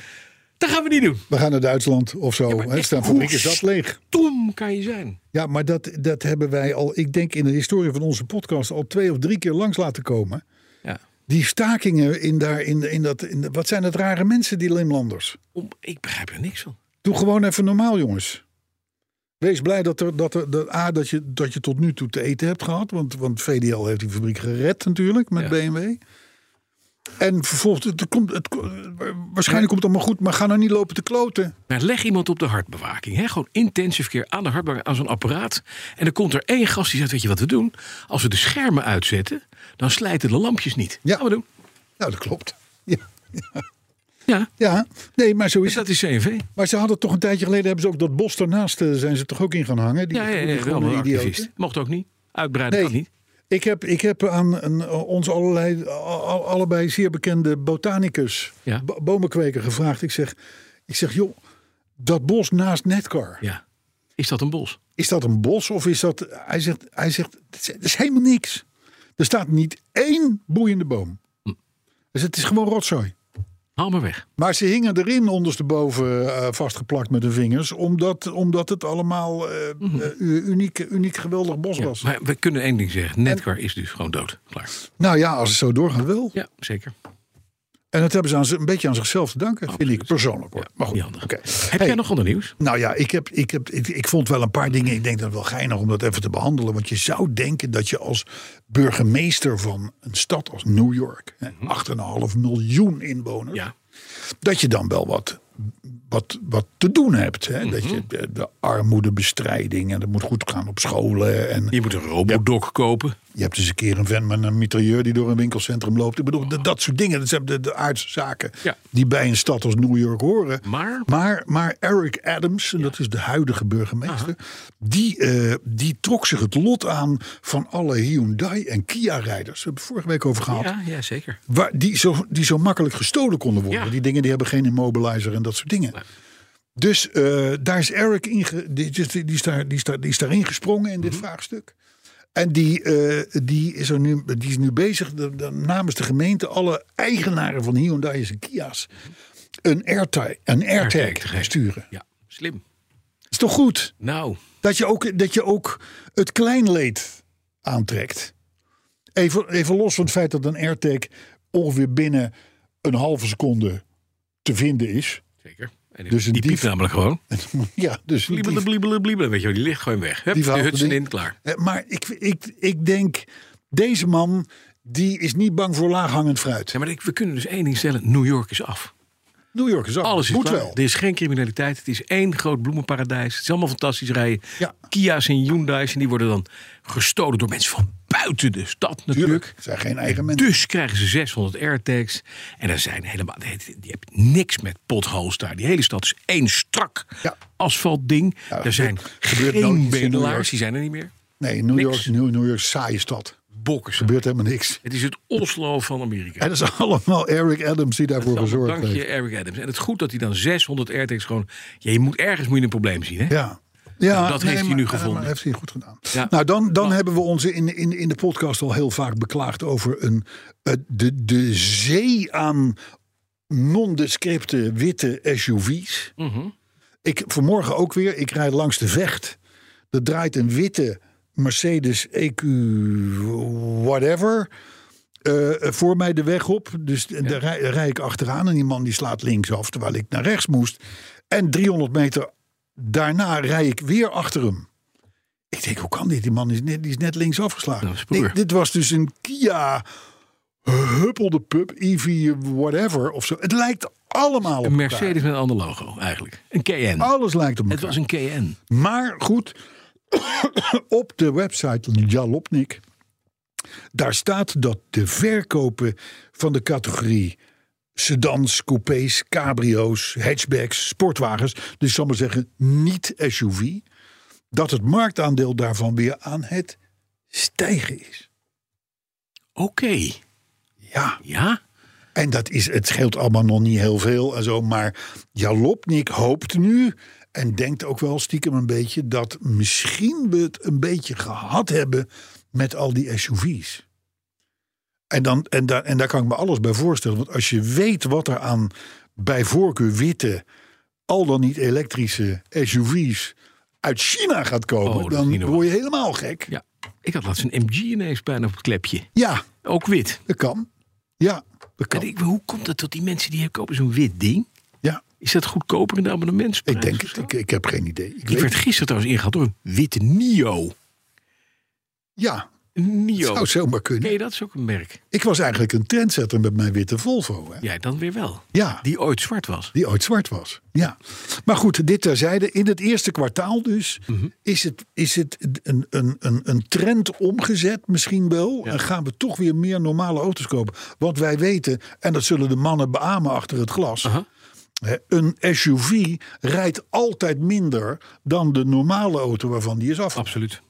dat gaan we niet doen. We gaan naar Duitsland of zo. maar hè, echt, staan fabriek hoe is dat leeg. Tom kan je zijn. Ja, maar dat, dat hebben wij al, ik denk in de historie van onze podcast, al twee of drie keer langs laten komen. Ja. Die stakingen in, daar, in, in dat. In, dat- wat zijn dat rare mensen, die Limlanders? Om, ik begrijp er niks van. Doe gewoon even normaal, jongens. Wees blij dat, er, dat, er, dat, A, dat, je, dat je tot nu toe te eten hebt gehad. Want, want VDL heeft die fabriek gered natuurlijk met Ja. BMW. En vervolgens, het komt, het, waarschijnlijk komt het allemaal goed, maar ga nou niet lopen te kloten. Maar Nou, leg iemand op de hartbewaking. Hè? Gewoon intensief verkeer aan de hartbewaking, aan zo'n apparaat. En dan komt er één gast die zegt, weet je wat we doen? Als we de schermen uitzetten, dan slijten de lampjes niet. Ja. Gaan we doen. Nou, dat klopt. Ja, Ja, ja. nee, maar zo is dus het. dat is CNV. Maar ze hadden toch een tijdje geleden, hebben ze ook dat bos daarnaast, eh, zijn ze toch ook in gaan hangen? Die, Ja, ja, ja, die wel groene een idioten. activist. Mocht ook niet. Uitbreiden Nee. kan niet. Ik heb, ik heb aan een, ons allerlei, al- allebei zeer bekende botanicus, Ja. bo- bomenkweker, gevraagd. Ik zeg, ik zeg, joh, dat bos naast Netcar, Ja. Is dat een bos? is dat een bos of is dat... Hij zegt, hij zegt het, is, het is helemaal niks. Er staat niet één boeiende boom. Hm. Dus het is gewoon rotzooi. Haal maar weg. Maar ze hingen erin ondersteboven eh, vastgeplakt met hun vingers. Omdat, omdat het allemaal eh, Mhm. eh, uniek, uniek geweldig bos was. Maar we kunnen één ding zeggen. Netcar is dus gewoon dood. Klaar. Nou ja, als het zo doorgaat wel. Ja, zeker. En dat hebben ze aan z- een beetje aan zichzelf te danken, vind ik Absoluut. persoonlijk. Hoor. Maar goed, Oh, Niet handig. oké. Heb Hey, jij nog ander nieuws? Nou ja, ik, heb, ik, heb, ik, ik vond wel een paar dingen. Ik denk dat het wel geinig om dat even te behandelen. Want je zou denken dat je als burgemeester van een stad als New York, hè, 8,5 miljoen inwoners, Mhm. Ja. dat je dan wel wat, wat, wat te doen hebt. Hè? Mhm. Dat je de, de armoedebestrijding en dat moet goed gaan op scholen. En Je moet een robodoc kopen. je hebt dus een keer een vent met een mitrailleur die door een winkelcentrum loopt. Ik bedoel, dat, dat soort dingen. Dat zijn de, de aardse zaken Ja. die bij een stad als New York horen. Maar? Maar, maar Eric Adams, en dat is de huidige burgemeester, die, eh, die trok zich het lot aan van alle Hyundai en Kia-rijders. We hebben het vorige week over gehad. Ja, ja, zeker. Waar, die, zo, die zo makkelijk gestolen konden worden. Ja. Die dingen die hebben geen immobilizer en dat soort dingen. Dus eh, daar is Eric in, ge- die, die, die, is daar, die, is daar, die is daarin gesprongen in dit Mhm. vraagstuk. En die, eh, die, is er nu, die is nu bezig de- de- namens de gemeente alle eigenaren van Hyundai's en Kia's een AirTag, een AirTag AirTag te geven. te sturen. Ja, slim. Is toch goed Nou, dat je ook, dat je ook het kleinleed aantrekt? Even, even los van het feit dat een AirTag ongeveer binnen een halve seconde te vinden is. zeker. En Dus een die dief- piept namelijk gewoon. Ja, dus die- Bliebele, bliebele, bliebele. Weet je wel, die ligt gewoon weg. Hup, Die de verhaal- hutsen die- in, klaar. Eh, Maar ik, ik, ik denk, deze man die is niet bang voor laaghangend fruit. Ja, maar ik- we kunnen dus één ding stellen. New York is af. New York is af. Alles is Oh, Moet klaar. wel. Er is geen criminaliteit. Het is één groot bloemenparadijs. Het is allemaal fantastisch rijden. Ja. Kia's en Hyundai's. En die worden dan gestolen door mensen van buiten de stad natuurlijk. Tuurlijk. Het zijn geen eigen mensen. Dus krijgen ze 600 AirTags. En er zijn helemaal. Die, die hebben niks met potholes daar. Die hele stad is één strak Ja. asfaltding. Ja, er zijn gebeurt nooit iets in geen New York. bedelaars. Die zijn er niet meer. Nee, New York, niks. New, New York, saaie stad. Bokken. ze. Gebeurt helemaal niks. Het is het Oslo van Amerika. En dat is allemaal Eric Adams die daarvoor Allemaal gezorgd Dank je, heeft. Eric Adams. En het is goed dat hij dan 600 AirTags gewoon. Ja, je moet ergens moet je een probleem zien. Hè? Ja. Ja, dat heeft hij nu gevonden. Dat heeft hij goed gedaan. Ja. Nou, dan, dan hebben we ons in, in, in de podcast al heel vaak beklaagd over een, eh, de, de zee aan nondescripte witte SUV's. Mhm. Ik vanmorgen ook weer. Ik rijd langs de vecht. Er draait een witte Mercedes EQ whatever eh, voor mij de weg op. Dus daar rij, daar rij ik achteraan en die man die slaat linksaf terwijl ik naar rechts moest. En 300 meter daarna rij ik weer achter hem. Ik denk, hoe kan dit? Die man is net, die is net links afgeslagen. Dat is broer. Dit, dit was dus een Kia huppelde pup, EV whatever of zo. Het lijkt allemaal op Een elkaar. Oh, Mercedes met een ander logo eigenlijk. Een KN. Alles lijkt op elkaar. het was een KN. Maar goed, op de website Jalopnik, daar staat dat de verkopen van de categorie sedans, coupés, cabrio's, hatchbacks, sportwagens, dus zal maar zeggen niet SUV, dat het marktaandeel daarvan weer aan het stijgen is. Oké. Ja, Ja? en dat is, het scheelt allemaal nog niet heel veel en zo, maar Jalopnik hoopt nu en denkt ook wel stiekem een beetje dat misschien we het een beetje gehad hebben met al die SUV's. En, dan, en, daar, en daar kan ik me alles bij voorstellen, want als je weet wat er aan bij voorkeur witte, al dan niet elektrische SUV's uit China gaat komen, Oh, dat is niet dan normaal. word je helemaal gek. Ja. Ik had laatst een MG ineens bijna op het klepje. Ja, Ook wit. dat kan. Ja, dat En kan. ik, hoe komt het dat die mensen die kopen zo'n wit ding? Ja, Is dat goedkoper in de abonnementsprijs? ik denk of het. zo? Ik, ik heb geen idee. Ik Ik weet- werd gisteren trouwens ingehaald door een witte Nio. ja, Nio. zou zomaar Nee, kunnen. dat is ook een merk. Ik was eigenlijk een trendsetter met mijn witte Volvo. Hè? Jij dan weer wel. Ja. Die ooit zwart was. Die ooit zwart was. Ja. Maar goed, dit terzijde. In het eerste kwartaal dus Mhm. is het, is het een, een, een, een trend omgezet misschien wel. En gaan we toch weer meer normale auto's kopen. Want wij weten, en dat zullen de mannen beamen achter het glas. hè, Een SUV rijdt altijd minder dan de normale auto waarvan die is af. Absoluut.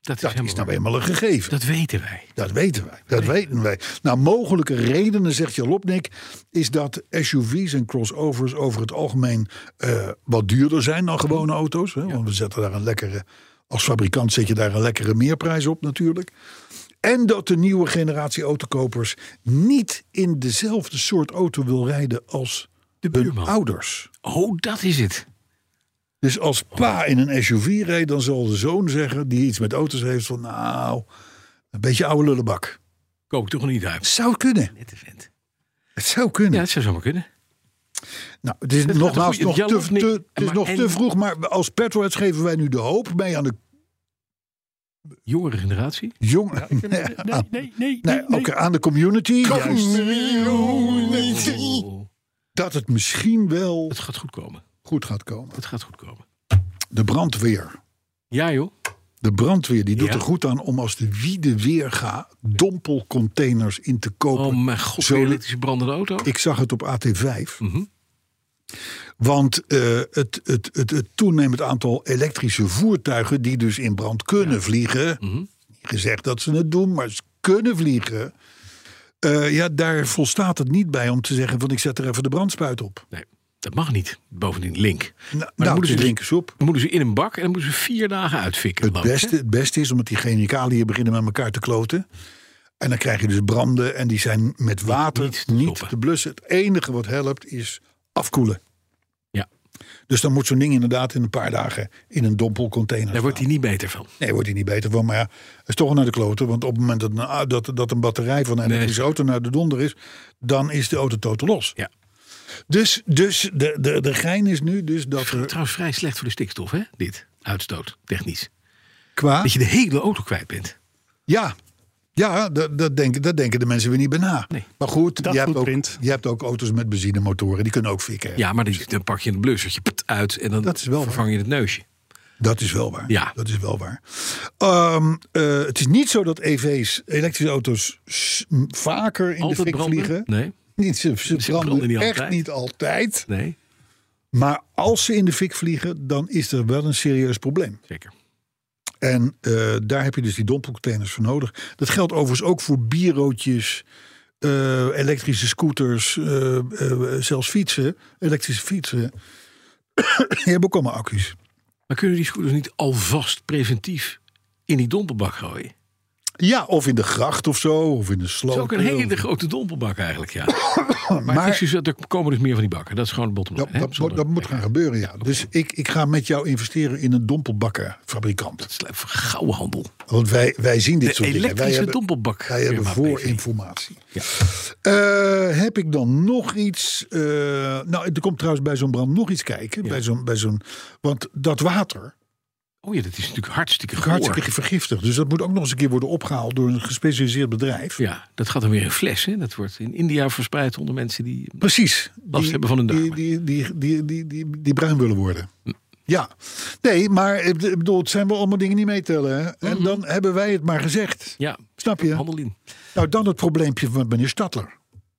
Dat is, Dat helemaal is nou waar. eenmaal een gegeven. Dat weten wij. Dat weten wij. Dat weten wij. Nou, mogelijke redenen, zegt Jalopnik, is dat SUV's en crossovers over het algemeen eh, wat duurder zijn dan gewone auto's. Hè? Want we zetten daar een lekkere, als fabrikant zet je daar een lekkere meerprijs op natuurlijk. En dat de nieuwe generatie autokopers niet in dezelfde soort auto wil rijden als de hun buurman. ouders. Oh, dat is het. Dus als pa in een SUV rijdt, dan zal de zoon zeggen, die iets met auto's heeft, van nou, een beetje oude lullenbak. Koop ik toch niet uit. Zou kunnen. Nette vent. Het zou kunnen. Ja, dat zou zomaar kunnen. Nou, het is gaat nogmaals een nog, goeie- te, Jalopnik- te- het is maar- nog te en- vroeg, maar als petrolheads geven wij nu de hoop mee aan de Jongere generatie. jongen. Nee, nee, nee. Nee, oké, aan de community. Juist. Oh, Dat het misschien wel het gaat goed komen. goed gaat komen. Het gaat goed komen. De brandweer. Ja, joh. De brandweer die doet Ja. er goed aan om als de wie de weer gaat dompelcontainers in te kopen. Oh, mijn god. Zo- Zo'n elektrische brandende auto. Ik zag het op AT5. Mhm. Want eh, het, het, het, het toenemend aantal elektrische voertuigen die dus in brand kunnen vliegen. Mhm. Niet gezegd dat ze het doen, maar ze kunnen vliegen. Eh, ja, daar volstaat het niet bij om te zeggen van ik zet er even de brandspuit op. Nee, dat mag niet. Bovendien link. Nou, Nou, dan nou, moeten ze ze- drinken soep. Dan moeten ze in een bak en dan moeten ze vier dagen uitfikken. Het geloof ik, hè? beste, het beste is omdat die chemicaliën beginnen met elkaar te kloten. En dan krijg je dus branden en die zijn met water niet niet, te stoppen. te blussen. Het enige wat helpt is afkoelen. Ja. Dus dan moet zo'n ding inderdaad in een paar dagen in een dompelcontainer Daar staan. wordt hij niet beter van. Nee, wordt hij niet beter van. Maar ja, het is toch naar de kloten. Want op het moment dat een, dat, dat een batterij van een elektrische auto naar de donder is... dan is de auto totaal los. Ja. Dus, dus de, de, de gein is nu dus dat Vri- er Trouwens, vrij slecht voor de stikstof, hè? Dit. Uitstoot, technisch. qua... Dat je de hele auto kwijt bent. Ja, ja dat, dat, denken, dat denken de mensen weer niet bij na. Nee. Maar goed, Dat je hebt, goed ook, print. je hebt ook auto's met benzinemotoren. Die kunnen ook fikken. Ja, maar die- dan pak je een blussertje put, uit en dan Dat is wel waar. vervang je het neusje. Dat is wel waar. Ja. Dat is wel waar. Ehm, eh, het is niet zo dat EV's, elektrische auto's, s- m- vaker in de Altijd fik branden? vliegen. Nee, Niet, ze, ze branden, branden niet echt altijd. niet altijd. nee, Maar als ze in de fik vliegen, dan is er wel een serieus probleem. zeker. En eh, daar heb je dus die dompelcontainers voor nodig. Dat geldt overigens ook voor bierootjes, eh, elektrische scooters, eh, eh, zelfs fietsen, elektrische fietsen. die hebben ook allemaal accu's. Maar kunnen die scooters niet alvast preventief in die dompelbak gooien? Ja, of in de gracht of zo, of in de Dat is sloot. ook een hele grote dompelbak eigenlijk, ja. maar Maar het is dus, er komen dus meer van die bakken. Dat is gewoon de bottom line. dat, hè? dat, Zonder- moet- dat moet gaan gebeuren, ja. Dus ik, ik ga met jou investeren in een dompelbakkenfabrikant. Dat is een gouden handel. Want wij, wij zien dit De soort dingen. Wij elektrische hebben, dompelbak. wij hebben firma PV. voorinformatie. Eh, heb ik dan nog iets? eh, nou, er komt trouwens bij zo'n brand nog iets kijken. Bij zo'n, bij zo'n, want dat water Oh ja, dat is natuurlijk hartstikke is goor. hartstikke vergiftigd. Dus dat moet ook nog eens een keer worden opgehaald door een gespecialiseerd bedrijf. Ja, dat gaat dan weer in fles. Hè? Dat wordt in India verspreid onder mensen die... Precies. Last hebben van Hm. hun die, darmen. die, die, die, die, die, die bruin willen worden. Ja, nee, maar eh, ik bedoel, het zijn wel allemaal dingen die meetellen. hè? En dan hebben wij het maar gezegd. Mhm. Ja, Snap je? handel in. Nou, dan het probleempje van meneer Stadler.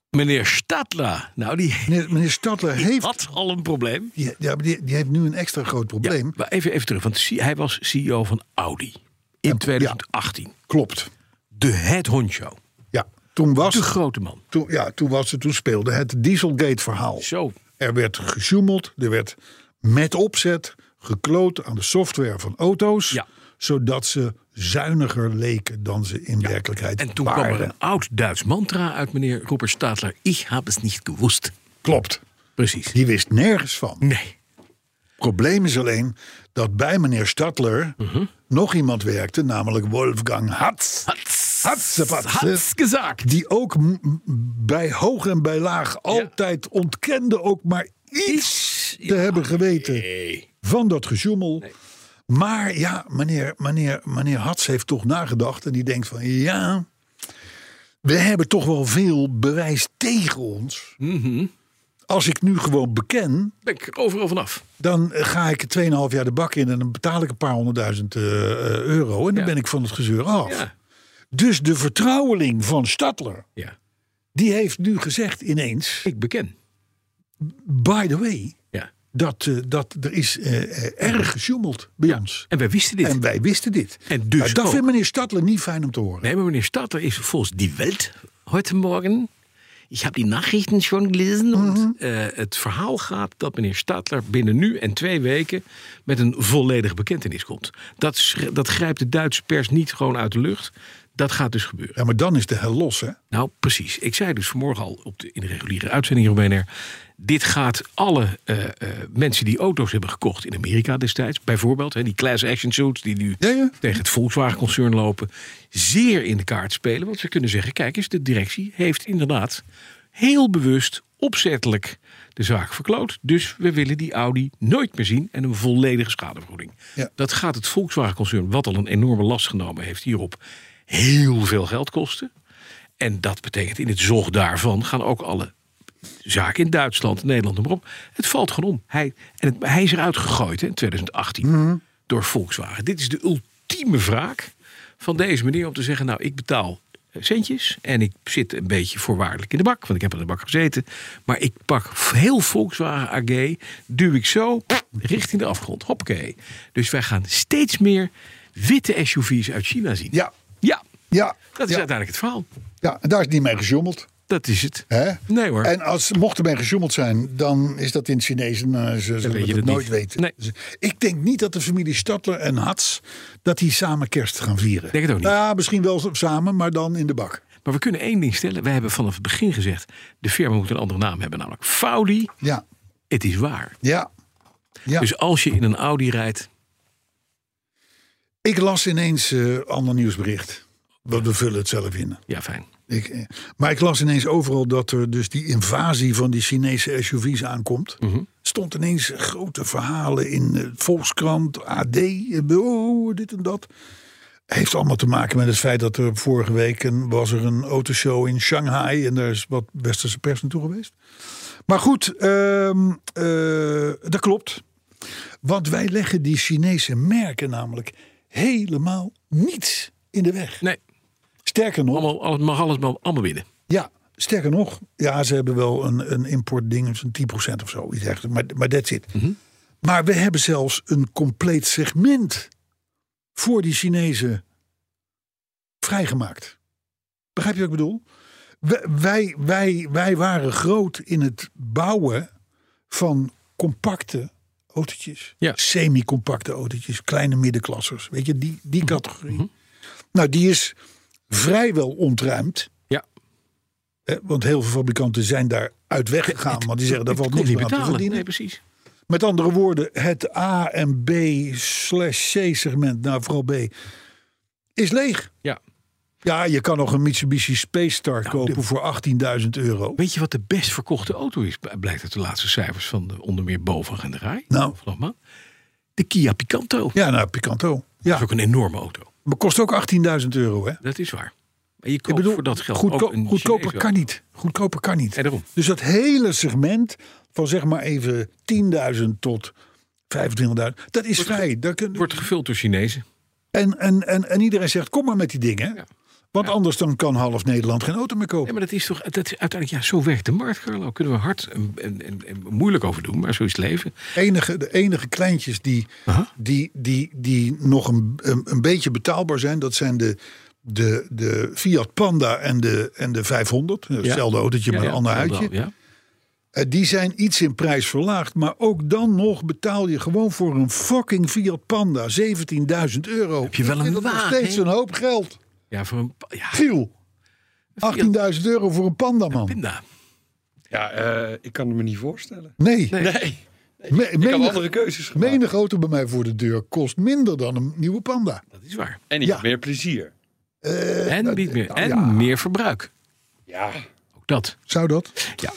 Meneer Stadla. Nou, die Meneer, meneer Stadler heeft, had al een probleem. ja, ja, maar die, die heeft nu een extra groot probleem. Ja, maar even, even terug, want C- hij was CEO van Audi in 2018. Klopt. De het honcho. Ja, toen was, De grote man. toen, ja, toen, was het, toen speelde het Dieselgate-verhaal. Zo. Er werd gesjoemeld, er werd met opzet gekloot aan de software van auto's. Ja. Zodat ze zuiniger leken dan ze in werkelijkheid En toen waren. kwam er een oud Duits mantra uit meneer Robert Stadler. Ik heb het niet gewoest. Klopt. Precies. Die wist nergens van. Nee. probleem is alleen Mhm. dat bij meneer Stadler nog iemand werkte, namelijk Wolfgang Hatz. Hats. Hatsefats, hè, gezakt. Die ook m- m- bij hoog en bij laag altijd ontkende ook maar iets te hebben geweten van dat gejoemel. Maar ja, meneer, meneer, meneer Hats heeft toch nagedacht en die denkt van ja, we hebben toch wel veel bewijs tegen ons. Mhm. Als ik nu gewoon beken, Ben ik er overal vanaf. dan ga ik 2,5 jaar de bak in en dan betaal ik een paar honderdduizend eh, eh, euro en dan Ja. ben ik van het gezeur af. Ja. Dus de vertrouweling van Stadler, ja. die heeft nu gezegd ineens, Ik beken. by the way, Ja. dat, eh, dat er is eh, eh, erg gesjoemeld bij ons. En wij wisten dit. En wij wisten dit. En dus Nou, dat ook. vindt meneer Stadler niet fijn om te horen. Nee, maar meneer Stadler is volgens die Welt heute Morgen. Ik heb die Nachrichten schon gelesen. Mhm. Und, eh, het verhaal gaat dat meneer Stadler binnen nu en twee weken met een volledige bekentenis komt. Dat, schri- dat grijpt de Duitse pers niet gewoon uit de lucht. Dat gaat dus gebeuren. Ja, maar dan is de hel los, hè? Nou, precies. Ik zei dus vanmorgen al op de, in de reguliere uitzending hier op BNR... dit gaat alle eh, eh, mensen die auto's hebben gekocht in Amerika destijds... bijvoorbeeld hè, die class action suits die nu Ja, ja. tegen het Volkswagen-concern lopen... zeer in de kaart spelen. Want ze kunnen zeggen, kijk eens, de directie heeft inderdaad... heel bewust, opzettelijk de zaak verkloot. Dus we willen die Audi nooit meer zien en een volledige schadevergoeding. Ja. Dat gaat het Volkswagen-concern, wat al een enorme last genomen heeft hierop... heel veel geld kosten... En dat betekent in het zog daarvan gaan ook alle zaken in Duitsland, Nederland, noem maar op. Het valt gewoon om. Hij, en het, hij is eruit gegooid hè, in 2018 Mhm. door Volkswagen. Dit is de ultieme wraak van deze meneer om te zeggen... nou, ik betaal eh, centjes en ik zit een beetje voorwaardelijk in de bak... want ik heb in de bak gezeten. Maar ik pak heel Volkswagen AG, duw ik zo richting de afgrond. Hoppakee. Dus wij gaan steeds meer witte SUV's uit China zien. Ja, Ja, ja. dat is ja, uiteindelijk het verhaal. ja, en daar is niet mee gesjoemeld. Dat is het. Hè? Nee hoor. En als, mocht er mee gesjoemeld zijn, dan is dat in het Chinees. En eh, ze zullen weet je dat dat nooit niet. weten. Nee. Dus ik denk niet dat de familie Stadler en Hats... dat die samen kerst gaan vieren. Denk het ook niet. Nou Ja, misschien wel samen, maar dan in de bak. Maar we kunnen één ding stellen. Wij hebben vanaf het begin gezegd... de firma moet een andere naam hebben, namelijk Faudi. Ja, Het is waar. ja. Ja. Dus als je in een Audi rijdt... Ik las ineens eh ander nieuwsbericht. We we vullen het zelf in. Ja, fijn. Ik, eh, maar ik las ineens overal dat er dus die invasie van die Chinese SUV's aankomt. Stond ineens grote verhalen in eh, Volkskrant, AD, eh, oh, dit en dat. Heeft allemaal te maken met het feit dat er vorige week een, was er een autoshow in Shanghai. En daar is wat westerse pers naartoe geweest. Maar goed, ehm, eh, dat klopt. Want wij leggen die Chinese merken namelijk helemaal niets in de weg. Nee, Sterker nog, allemaal, alles, mag alles maar allemaal binnen. ja, sterker nog, ja, ze hebben wel een, een importding van 10% of zo. iets dergelijks, Maar, maar that's it. Maar we hebben zelfs een compleet segment voor die Chinezen vrijgemaakt. Begrijp je wat ik bedoel? Wij, wij, wij, wij waren groot in het bouwen van compacte autootjes. Ja. Semi-compacte autootjes, kleine middenklassers. Weet je, die, die categorie. Nou, die is vrijwel ontruimd. Ja, Hè, want heel veel fabrikanten zijn daar uit weggegaan. Want Ah, die zeggen dat valt kon niks niet meer aan te betalen. verdienen. Nee, precies. Met andere woorden, het A en B slash C segment, nou vooral B, is leeg. Ja. Ja, je kan nog een Mitsubishi Space Star kopen de- voor 18.000 euro. Weet je wat de best verkochte auto is? Blijkt uit de laatste cijfers van eh, onder meer Boven en de Rij. Nou. Vanaf maand. De Kia Picanto. Ja, nou, Picanto. Dat Ja, is ook een enorme auto. maar kost ook 18.000 euro, hè? Dat is waar. Maar je Ik koopt bedoel, voor dat geld goedko- ook een goedkoper Chinese kan niet. Goedkoper kan niet. En daarom. Dus dat hele segment van zeg maar even 10.000 tot 25.000, dat is vrij. Daar kun, Wordt gevuld door Chinezen. En, en, en, en iedereen zegt, kom maar met die dingen. Ja. Want anders dan kan half Nederland geen auto meer kopen. Ja, maar dat is toch dat is uiteindelijk, ja, zo werkt de markt, Carlo. Kunnen we hard en, en, en, en moeilijk over doen, maar zo is het leven. Enige, de enige kleintjes die, Aha. die, die, die nog een, een, een beetje betaalbaar zijn... dat zijn de, de, de Fiat Panda en de, en de 500. Hetzelfde autootje, maar een ander dat wel, uitje. Ja. Eh, Die zijn iets in prijs verlaagd. Maar ook dan nog betaal je gewoon voor een fucking Fiat Panda 17.000 euro. Heb je wel een dat is nog wagen, steeds hè? een hoop geld. ja, voor een pa- ja, Giel, 18.000 euro voor een panda, man. pinda. Ja, eh, ik kan het me niet voorstellen. Nee. Nee. Nee, Me- ik had menig- andere keuzes gemaakt. Menig auto bij mij voor de deur kost minder dan een nieuwe panda. Dat is waar. En ik Ja. heb meer plezier. Eh, en niet meer, en meer verbruik. Ja. Ook dat. Zou dat? Ja.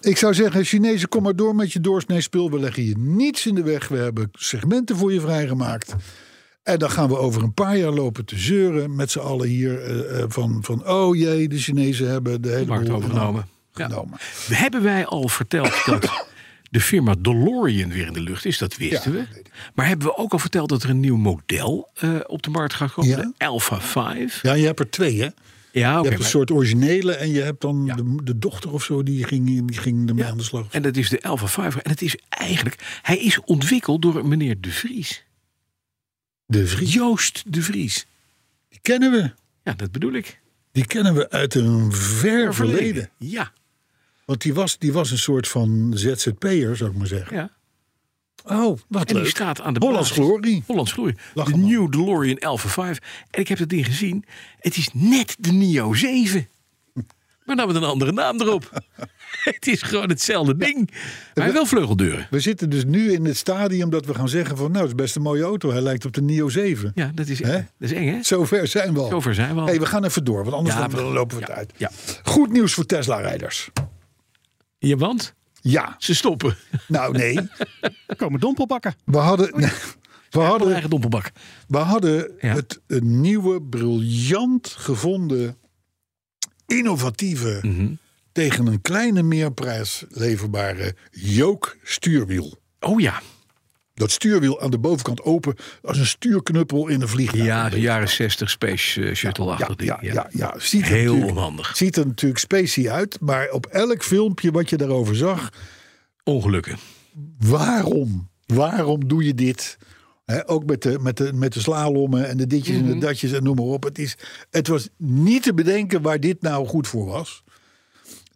Ik zou zeggen, Chinezen, kom maar door met je doorsnee spul. We leggen je niets in de weg. We hebben segmenten voor je vrijgemaakt. En dan gaan we over een paar jaar lopen te zeuren met z'n allen hier. eh, eh, van, van, oh jee, de Chinezen hebben de hele markt boel Nou, overgenomen. genomen. Hebben wij al verteld dat de firma DeLorean weer in de lucht is? Dat wisten Ja, dat we. Maar hebben we ook al verteld dat er een nieuw model eh, op de markt gaat komen? Ja. De Alpha 5. Ja, je hebt er twee, hè? Ja, Je oké. hebt een maar- soort originele en je hebt dan Ja. de, de dochter of zo die ging, die ging ermee aan de slag. En dat is de Alpha 5. En het is eigenlijk, hij is ontwikkeld door een meneer De Vries. De Vries, Joost De Vries. die kennen we. Ja, dat bedoel ik. Die kennen we uit een ver verleden. Ja, Want die was, die was een soort van ZZP'er, zou ik maar zeggen. ja. Oh, wat En leuk. die staat aan de Hollands basis. Glorie. Hollands Glorie. Lachen de man. New DeLorean Alpha 5. En ik heb dat ding gezien. Het is net de Nio 7. Maar dan met een andere naam erop. het is gewoon hetzelfde ding. Maar wel vleugeldeuren. We zitten dus nu in het stadium dat we gaan zeggen van... nou, het is best een mooie auto. Hij lijkt op de Nio 7. Ja, dat is, Hè? dat is eng, hè? Zover zijn we al. Zover zijn we al. Hey, we gaan even door, want anders Ja, dan- we- dan lopen we het ja, uit. ja. Goed nieuws voor Tesla-rijders. Ja, want Ja, ze stoppen. nou nee. Er komen dompelbakken. We Oh hadden, we Een hadden, eigen dompelbak. we hadden Ja. het een nieuwe, briljant gevonden... innovatieve, Mhm. tegen een kleine meerprijs eh, leverbare... Jook-stuurwiel. Oh ja. Dat stuurwiel aan de bovenkant open als een stuurknuppel in een vliegtuig. Ja, Een de beetje. jaren 60 Space eh, Shuttle-achtig ja, ding. ja, ja, ja. Ziet er Heel natuurlijk- onhandig. Ziet er natuurlijk spacey uit, maar op elk filmpje wat je daarover zag, Ongelukken. waarom? Waarom doe je dit? Hè, ook met de, met, de, met de slalommen en de ditjes en de datjes en noem maar op. Het, is, het was niet te bedenken waar dit nou goed voor was.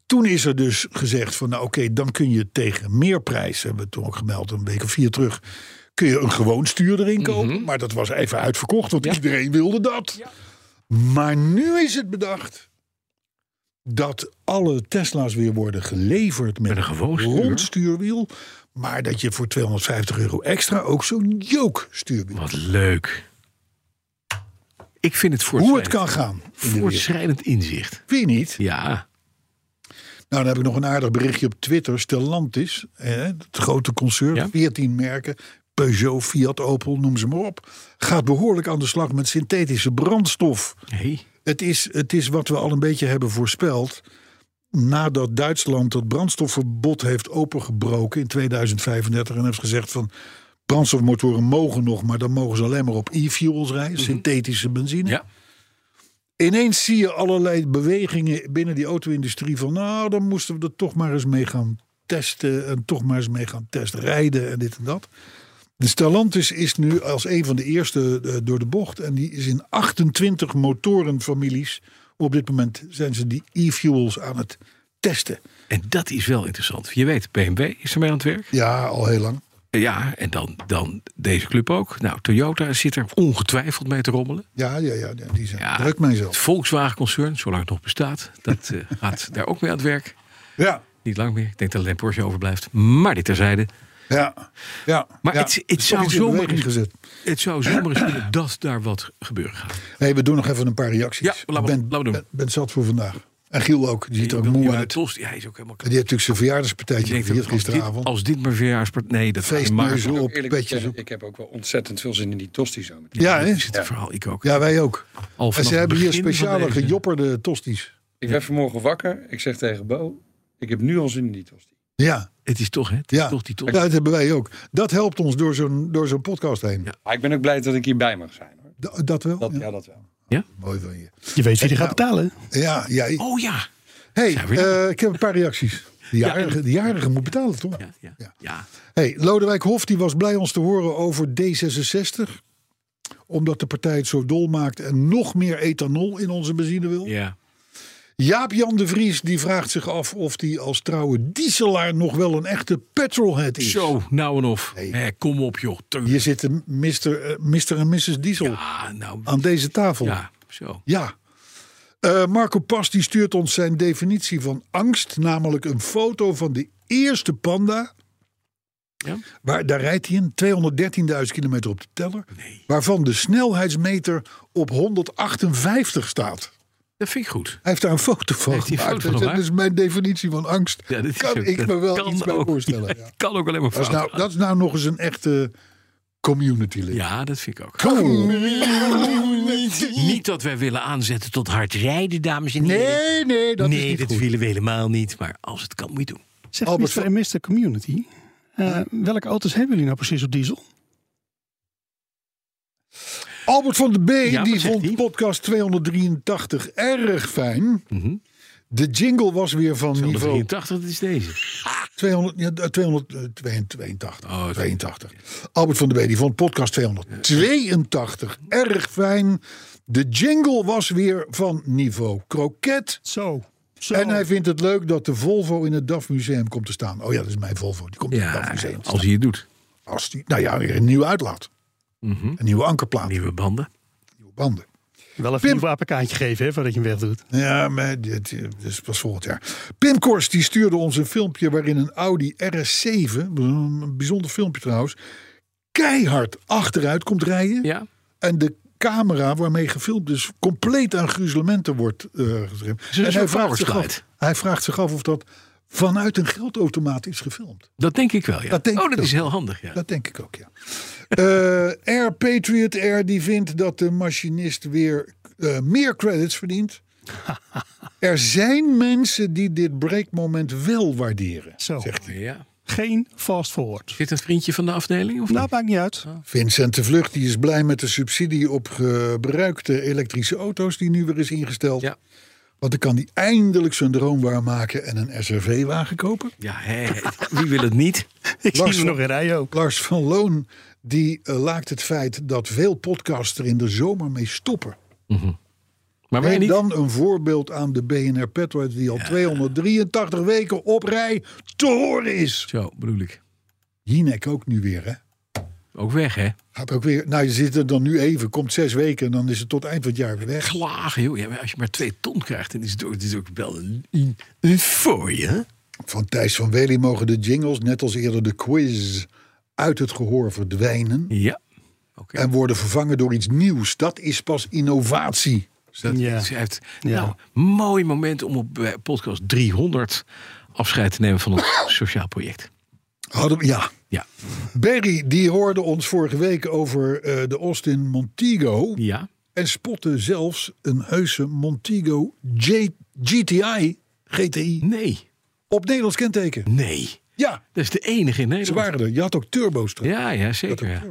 Toen is er dus gezegd van, nou oké, dan kun je tegen meer prijs, hebben we toen ook gemeld, een week of vier terug, kun je een gewoon stuur erin kopen. Maar dat was even uitverkocht, want iedereen wilde dat. Maar nu is het bedacht dat alle Tesla's weer worden geleverd met, Met een gewoon stuur. rond stuurwiel. Maar dat je voor 250 euro extra ook zo'n joke stuurwiel. Wat leuk. Ik vind het Hoe het voortschrijdend, kan gaan. in de wereld. voortschrijdend inzicht. Vind je niet? Ja. Nou, dan heb ik nog een aardig berichtje op Twitter. Stellantis, hè, het grote concern, Ja. 14 merken. Peugeot, Fiat, Opel, noem ze maar op. Gaat behoorlijk aan de slag met synthetische brandstof. Hey. Het is, het is wat we al een beetje hebben voorspeld. Nadat Duitsland dat brandstofverbod heeft opengebroken in 2035 en heeft gezegd van brandstofmotoren mogen nog, maar dan mogen ze alleen maar op e-fuels rijden, synthetische benzine. Ja. Ineens zie je allerlei bewegingen binnen die auto-industrie van nou, dan moesten we er toch maar eens mee gaan testen en toch maar eens mee gaan testrijden en dit en dat. De Stellantis is nu als een van de eerste eh, door de bocht. En die is in 28 motorenfamilies. Op dit moment zijn ze die e-fuels aan het testen. En dat is wel interessant. Je weet, BMW is ermee aan het werk. Ja, al heel lang. Ja, en dan, dan deze club ook. Nou, Toyota zit er ongetwijfeld mee te rommelen. Ja, ja, ja, ja, die zijn Ja, druk Het mijzelf. Volkswagen-concern, zolang het nog bestaat, dat eh, gaat daar ook mee aan het werk. Ja, Niet lang meer. Ik denk dat alleen Porsche overblijft. Maar dit terzijde. ja, ja. Maar ja. het, Er het, is zou iets in zomaar, beweging gezet. het zou zomaar eens kunnen dat daar wat gebeuren gaat. Hey, we doen nog even een paar reacties. Ja, laten we- ben, laten we doen. Ben, ben zat voor vandaag. En Giel ook, die ziet er ook Wil- moe Johan uit. Die Tolst, ja, hij is ook helemaal klaar. heeft natuurlijk zijn verjaardagspartijtje Ik denk gevierd dat als dit- gisteravond. Als dit maar verjaarspartij... Nee, dat is maar Feestneuzen Ik op, moet eerlijk petjes zeggen, op. ik heb ook wel ontzettend veel zin in die tosti zo meteen. Ja, hè? is het verhaal. Ik ook. ja, wij ook. Al En vanaf ze het hebben hier begin van speciale deze- gejopperde tosties. Ik werd vanmorgen wakker. Ik zeg tegen Bo, ik heb nu al zin in die tosti. Ja. Het is toch, hè? Het Ja. is toch die tot... Ja, dat hebben wij ook. Dat helpt ons door zo'n, door zo'n podcast heen. Ja. Maar ik ben ook blij dat ik hierbij mag zijn. Hoor. Da- Dat, wel? Dat, Ja. ja, dat wel. Mooi van je. Je weet wie die gaat Nou. betalen. Ja, jij. Oh ja. hey, zijn we weer. eh, ik heb een paar reacties. De Ja, jarige, de jarige moet betalen, toch? Ja, ja, Ja. ja. Hey, Lodewijk Hof die was blij ons te horen over D66. Omdat de partij het zo dol maakt en nog meer ethanol in onze benzine wil. Ja. Jaap-Jan de Vries die vraagt zich af of hij als trouwe dieselaar nog wel een echte petrolhead is. Zo, nou en of. Nee. Hé, kom op, joh. Teun. Hier zitten Mr. eh, Mr. en Mrs. Diesel Ah, nou. aan deze tafel. Ja, zo. Ja. Eh, Marco Pas die stuurt ons zijn definitie van angst, namelijk een foto van de eerste panda Waar, daar rijdt hij in 213.000 kilometer op de teller. Waarvan de snelheidsmeter op 158 staat. Dat vind ik goed. Hij heeft daar een foto van Heeft hij een gemaakt. foto van dat is gemaakt? mijn definitie van angst. Ja, dit is kan ook- ik dat me wel kan iets bij ook. voorstellen. Ja, ja. Kan ook alleen maar Dat, is fout. nou, dat is nou nog eens een echte community lid. Ja, dat vind ik ook. Community. Niet dat wij willen aanzetten tot hard rijden, dames en heren. Nee, nee, dat is nee, niet dat goed. willen we helemaal niet. Maar als het kan, moet je doen. Zeg Albert Albert, Mr. en Mr. Community, eh, welke auto's hebben jullie nou precies op diesel? Albert van de B Ja, die wat zegt vond die? podcast 283 erg fijn. Mhm. De jingle was weer van De niveau 83, dat is deze. 200, ja, eh, 282. Oh, dat- 82. Albert van de B die vond podcast 282 erg fijn. De jingle was weer van niveau kroket. Zo. zo. En hij vindt het leuk dat de Volvo in het DAF Museum komt te staan. Oh ja, dat is mijn Volvo. Die komt in het DAF Ja, Museum. te als staan. hij het doet. Als die, nou ja, weer een nieuwe uitlaat. Mhm. Een nieuwe ankerplaat. Nieuwe banden. Nieuwe banden. Wel even Pim. een nieuw APK'tje geven, hè, voordat je hem wegdoet. Ja, maar dit, dit is pas volgend jaar. Pim Kors die stuurde ons een filmpje waarin een Audi RS7, een bijzonder filmpje trouwens, keihard achteruit komt rijden. Ja. En de camera waarmee gefilmd is, compleet aan gruzelementen wordt eh geschreven. een En hij soort vraagt, zich powerslide. af, hij vraagt zich af of dat vanuit een geldautomaat is gefilmd. Dat denk ik wel, ja. Dat denk oh, ik dat is ook. heel handig, ja. Dat denk ik ook, ja. Eh, Air Patriot Air die vindt dat de machinist weer eh, meer credits verdient. Er zijn mensen die dit breakmoment wel waarderen, Zo. zegt hij. ja. Geen fast forward. Zit een vriendje van de afdeling? Of Nou, niet? maakt niet uit. Oh. Vincent de Vlucht die is blij met de subsidie op gebruikte elektrische auto's die nu weer is ingesteld. Ja. Want dan kan hij eindelijk zijn droom waarmaken en een SRV-wagen kopen. Ja, hè, hè. wie wil het niet? Ik zie Lars hem van- nog in rij ook. Lars van Loon die eh, laakt het feit dat veel podcasts er in de zomer mee stoppen. Maar wij En niet? dan een voorbeeld aan de BNR Petrohead die al 283 weken op rij te horen is. Zo, bedoel ik. Jinek ook nu weer, hè? Ook weg, hè? Gaat ook weer. Nou, je zit er dan nu even, komt zes weken en dan is het tot eind van het jaar weer weg. Klagen, joh. Ja, maar als je maar twee ton krijgt, dan is het ook, het is ook wel een, een- een voor je. hè? Van Thijs van Wely mogen de jingles, net als eerder de quiz, uit het gehoor verdwijnen. Ja. Oké. En worden vervangen door iets nieuws. Dat is pas innovatie. Dus dat Ja. is- hij heeft, Ja. Nou, mooi moment om op eh, podcast 300 afscheid te nemen van het sociaal project. Hadden we, ja. Ja. Barry, die hoorde ons vorige week over eh, de Austin Montego. Ja. En spotte zelfs een heuse Montego J- GTI GTI Nee. op Nederlands kenteken. Nee. Ja, Dat is de enige in ze Nederland. waren er. Je had ook turbo's terug. Ja, ja, zeker. ja.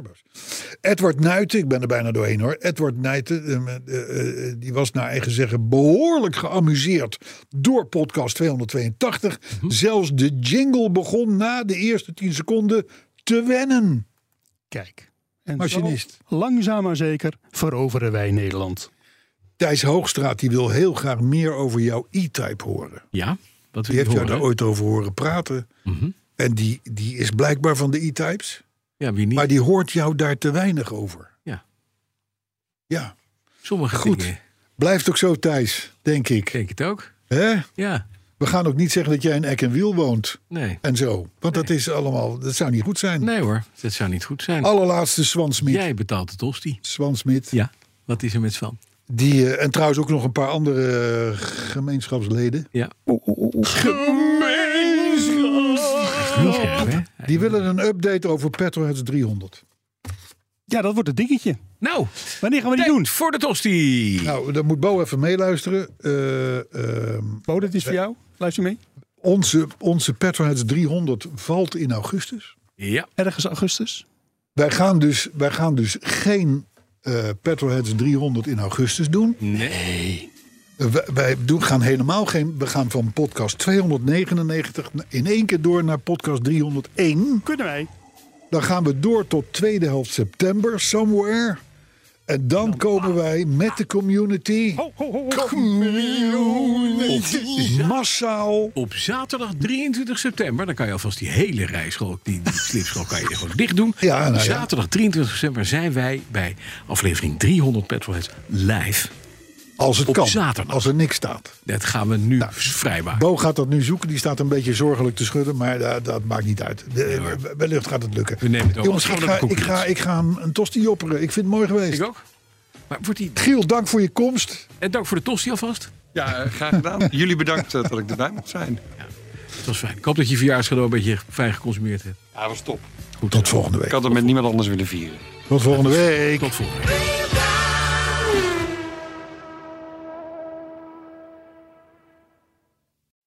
Edward Nuiten, ik ben er bijna doorheen hoor. Edward Nuiten, eh, eh, eh, die was naar eigen zeggen behoorlijk geamuseerd door podcast 282. Zelfs de jingle begon na de eerste 10 seconden te wennen. Kijk. En Machinist. zo, langzaam maar zeker veroveren wij Nederland. Thijs Hoogstraat die wil heel graag meer over jouw E-type horen. Ja, wat Die wil je heeft jou horen? daar hè? ooit over horen praten. Mhm. En die, die is blijkbaar van de E-types. Ja, wie niet? Maar die hoort jou daar te weinig over. Ja. Ja, Sommige Goed. dingen. blijft ook zo Thijs, denk Ik ik. denk het ook. Hè? Ja. We gaan ook niet zeggen dat jij in Eck en Wiel woont. Nee. En zo. Want dat is allemaal, dat zou niet goed zijn. Nee hoor, dat zou niet goed Oh, zijn. Allerlaatste Swan Smit. Jij betaalt het hostie. Swan Smit. Ja. Wat is er met Svan? Die, eh, en trouwens ook nog een paar andere eh, gemeenschapsleden. Ja. Gemeenschap. hè? Die willen een update over Petroheads 300. Ja, dat wordt het dingetje. Nou, Wanneer gaan we die tijd doen? voor de tosti. Nou, dan moet Bo even meeluisteren. Eh, ehm, Bo, Oh, dat is voor jou. Luister je mee? onze onze Petroheads 300 valt in augustus. Ja. Ergens augustus. Wij gaan dus, wij gaan dus geen eh Petroheads 300 in augustus doen. Nee. Eh, wij wij doen, gaan helemaal geen. We gaan van podcast 299 in één keer door naar podcast 301. Kunnen wij? Dan gaan we door tot tweede helft september, somewhere. En dan komen wij met de community Ho, ho, ho. massaal. Op zaterdag 23 september, dan kan je alvast die hele rijschool, die, die slipschool, kan je gewoon dicht doen. Ja, nou ja. Zaterdag 23 september zijn wij bij aflevering 300 Petrolheads live Als het op kan. zaterdag. Als er niks staat. Dat gaan we nu vrijmaken. Nou, Bo gaat dat nu zoeken. Die staat een beetje zorgelijk te schudden. Maar dat, dat maakt niet uit. De- wellicht gaat het lukken. We nemen het over. Jongens, Gaan ik we naar ga, de ik, ga, conclusies. ik ga hem een tosti jopperen. Ik vind het mooi geweest. Ik ook. Maar wordt die... Giel, dank voor je komst. En dank voor de tosti alvast. Ja, eh, graag gedaan. Jullie bedankt eh, dat ik erbij mocht zijn. Het was fijn. Ik hoop dat je verjaarscadeau een beetje fijn geconsumeerd hebt. Ja, was top. Goed, Tot zo. volgende Ik week. had het met niemand anders willen vieren. Tot volgende week. Tot volgende week.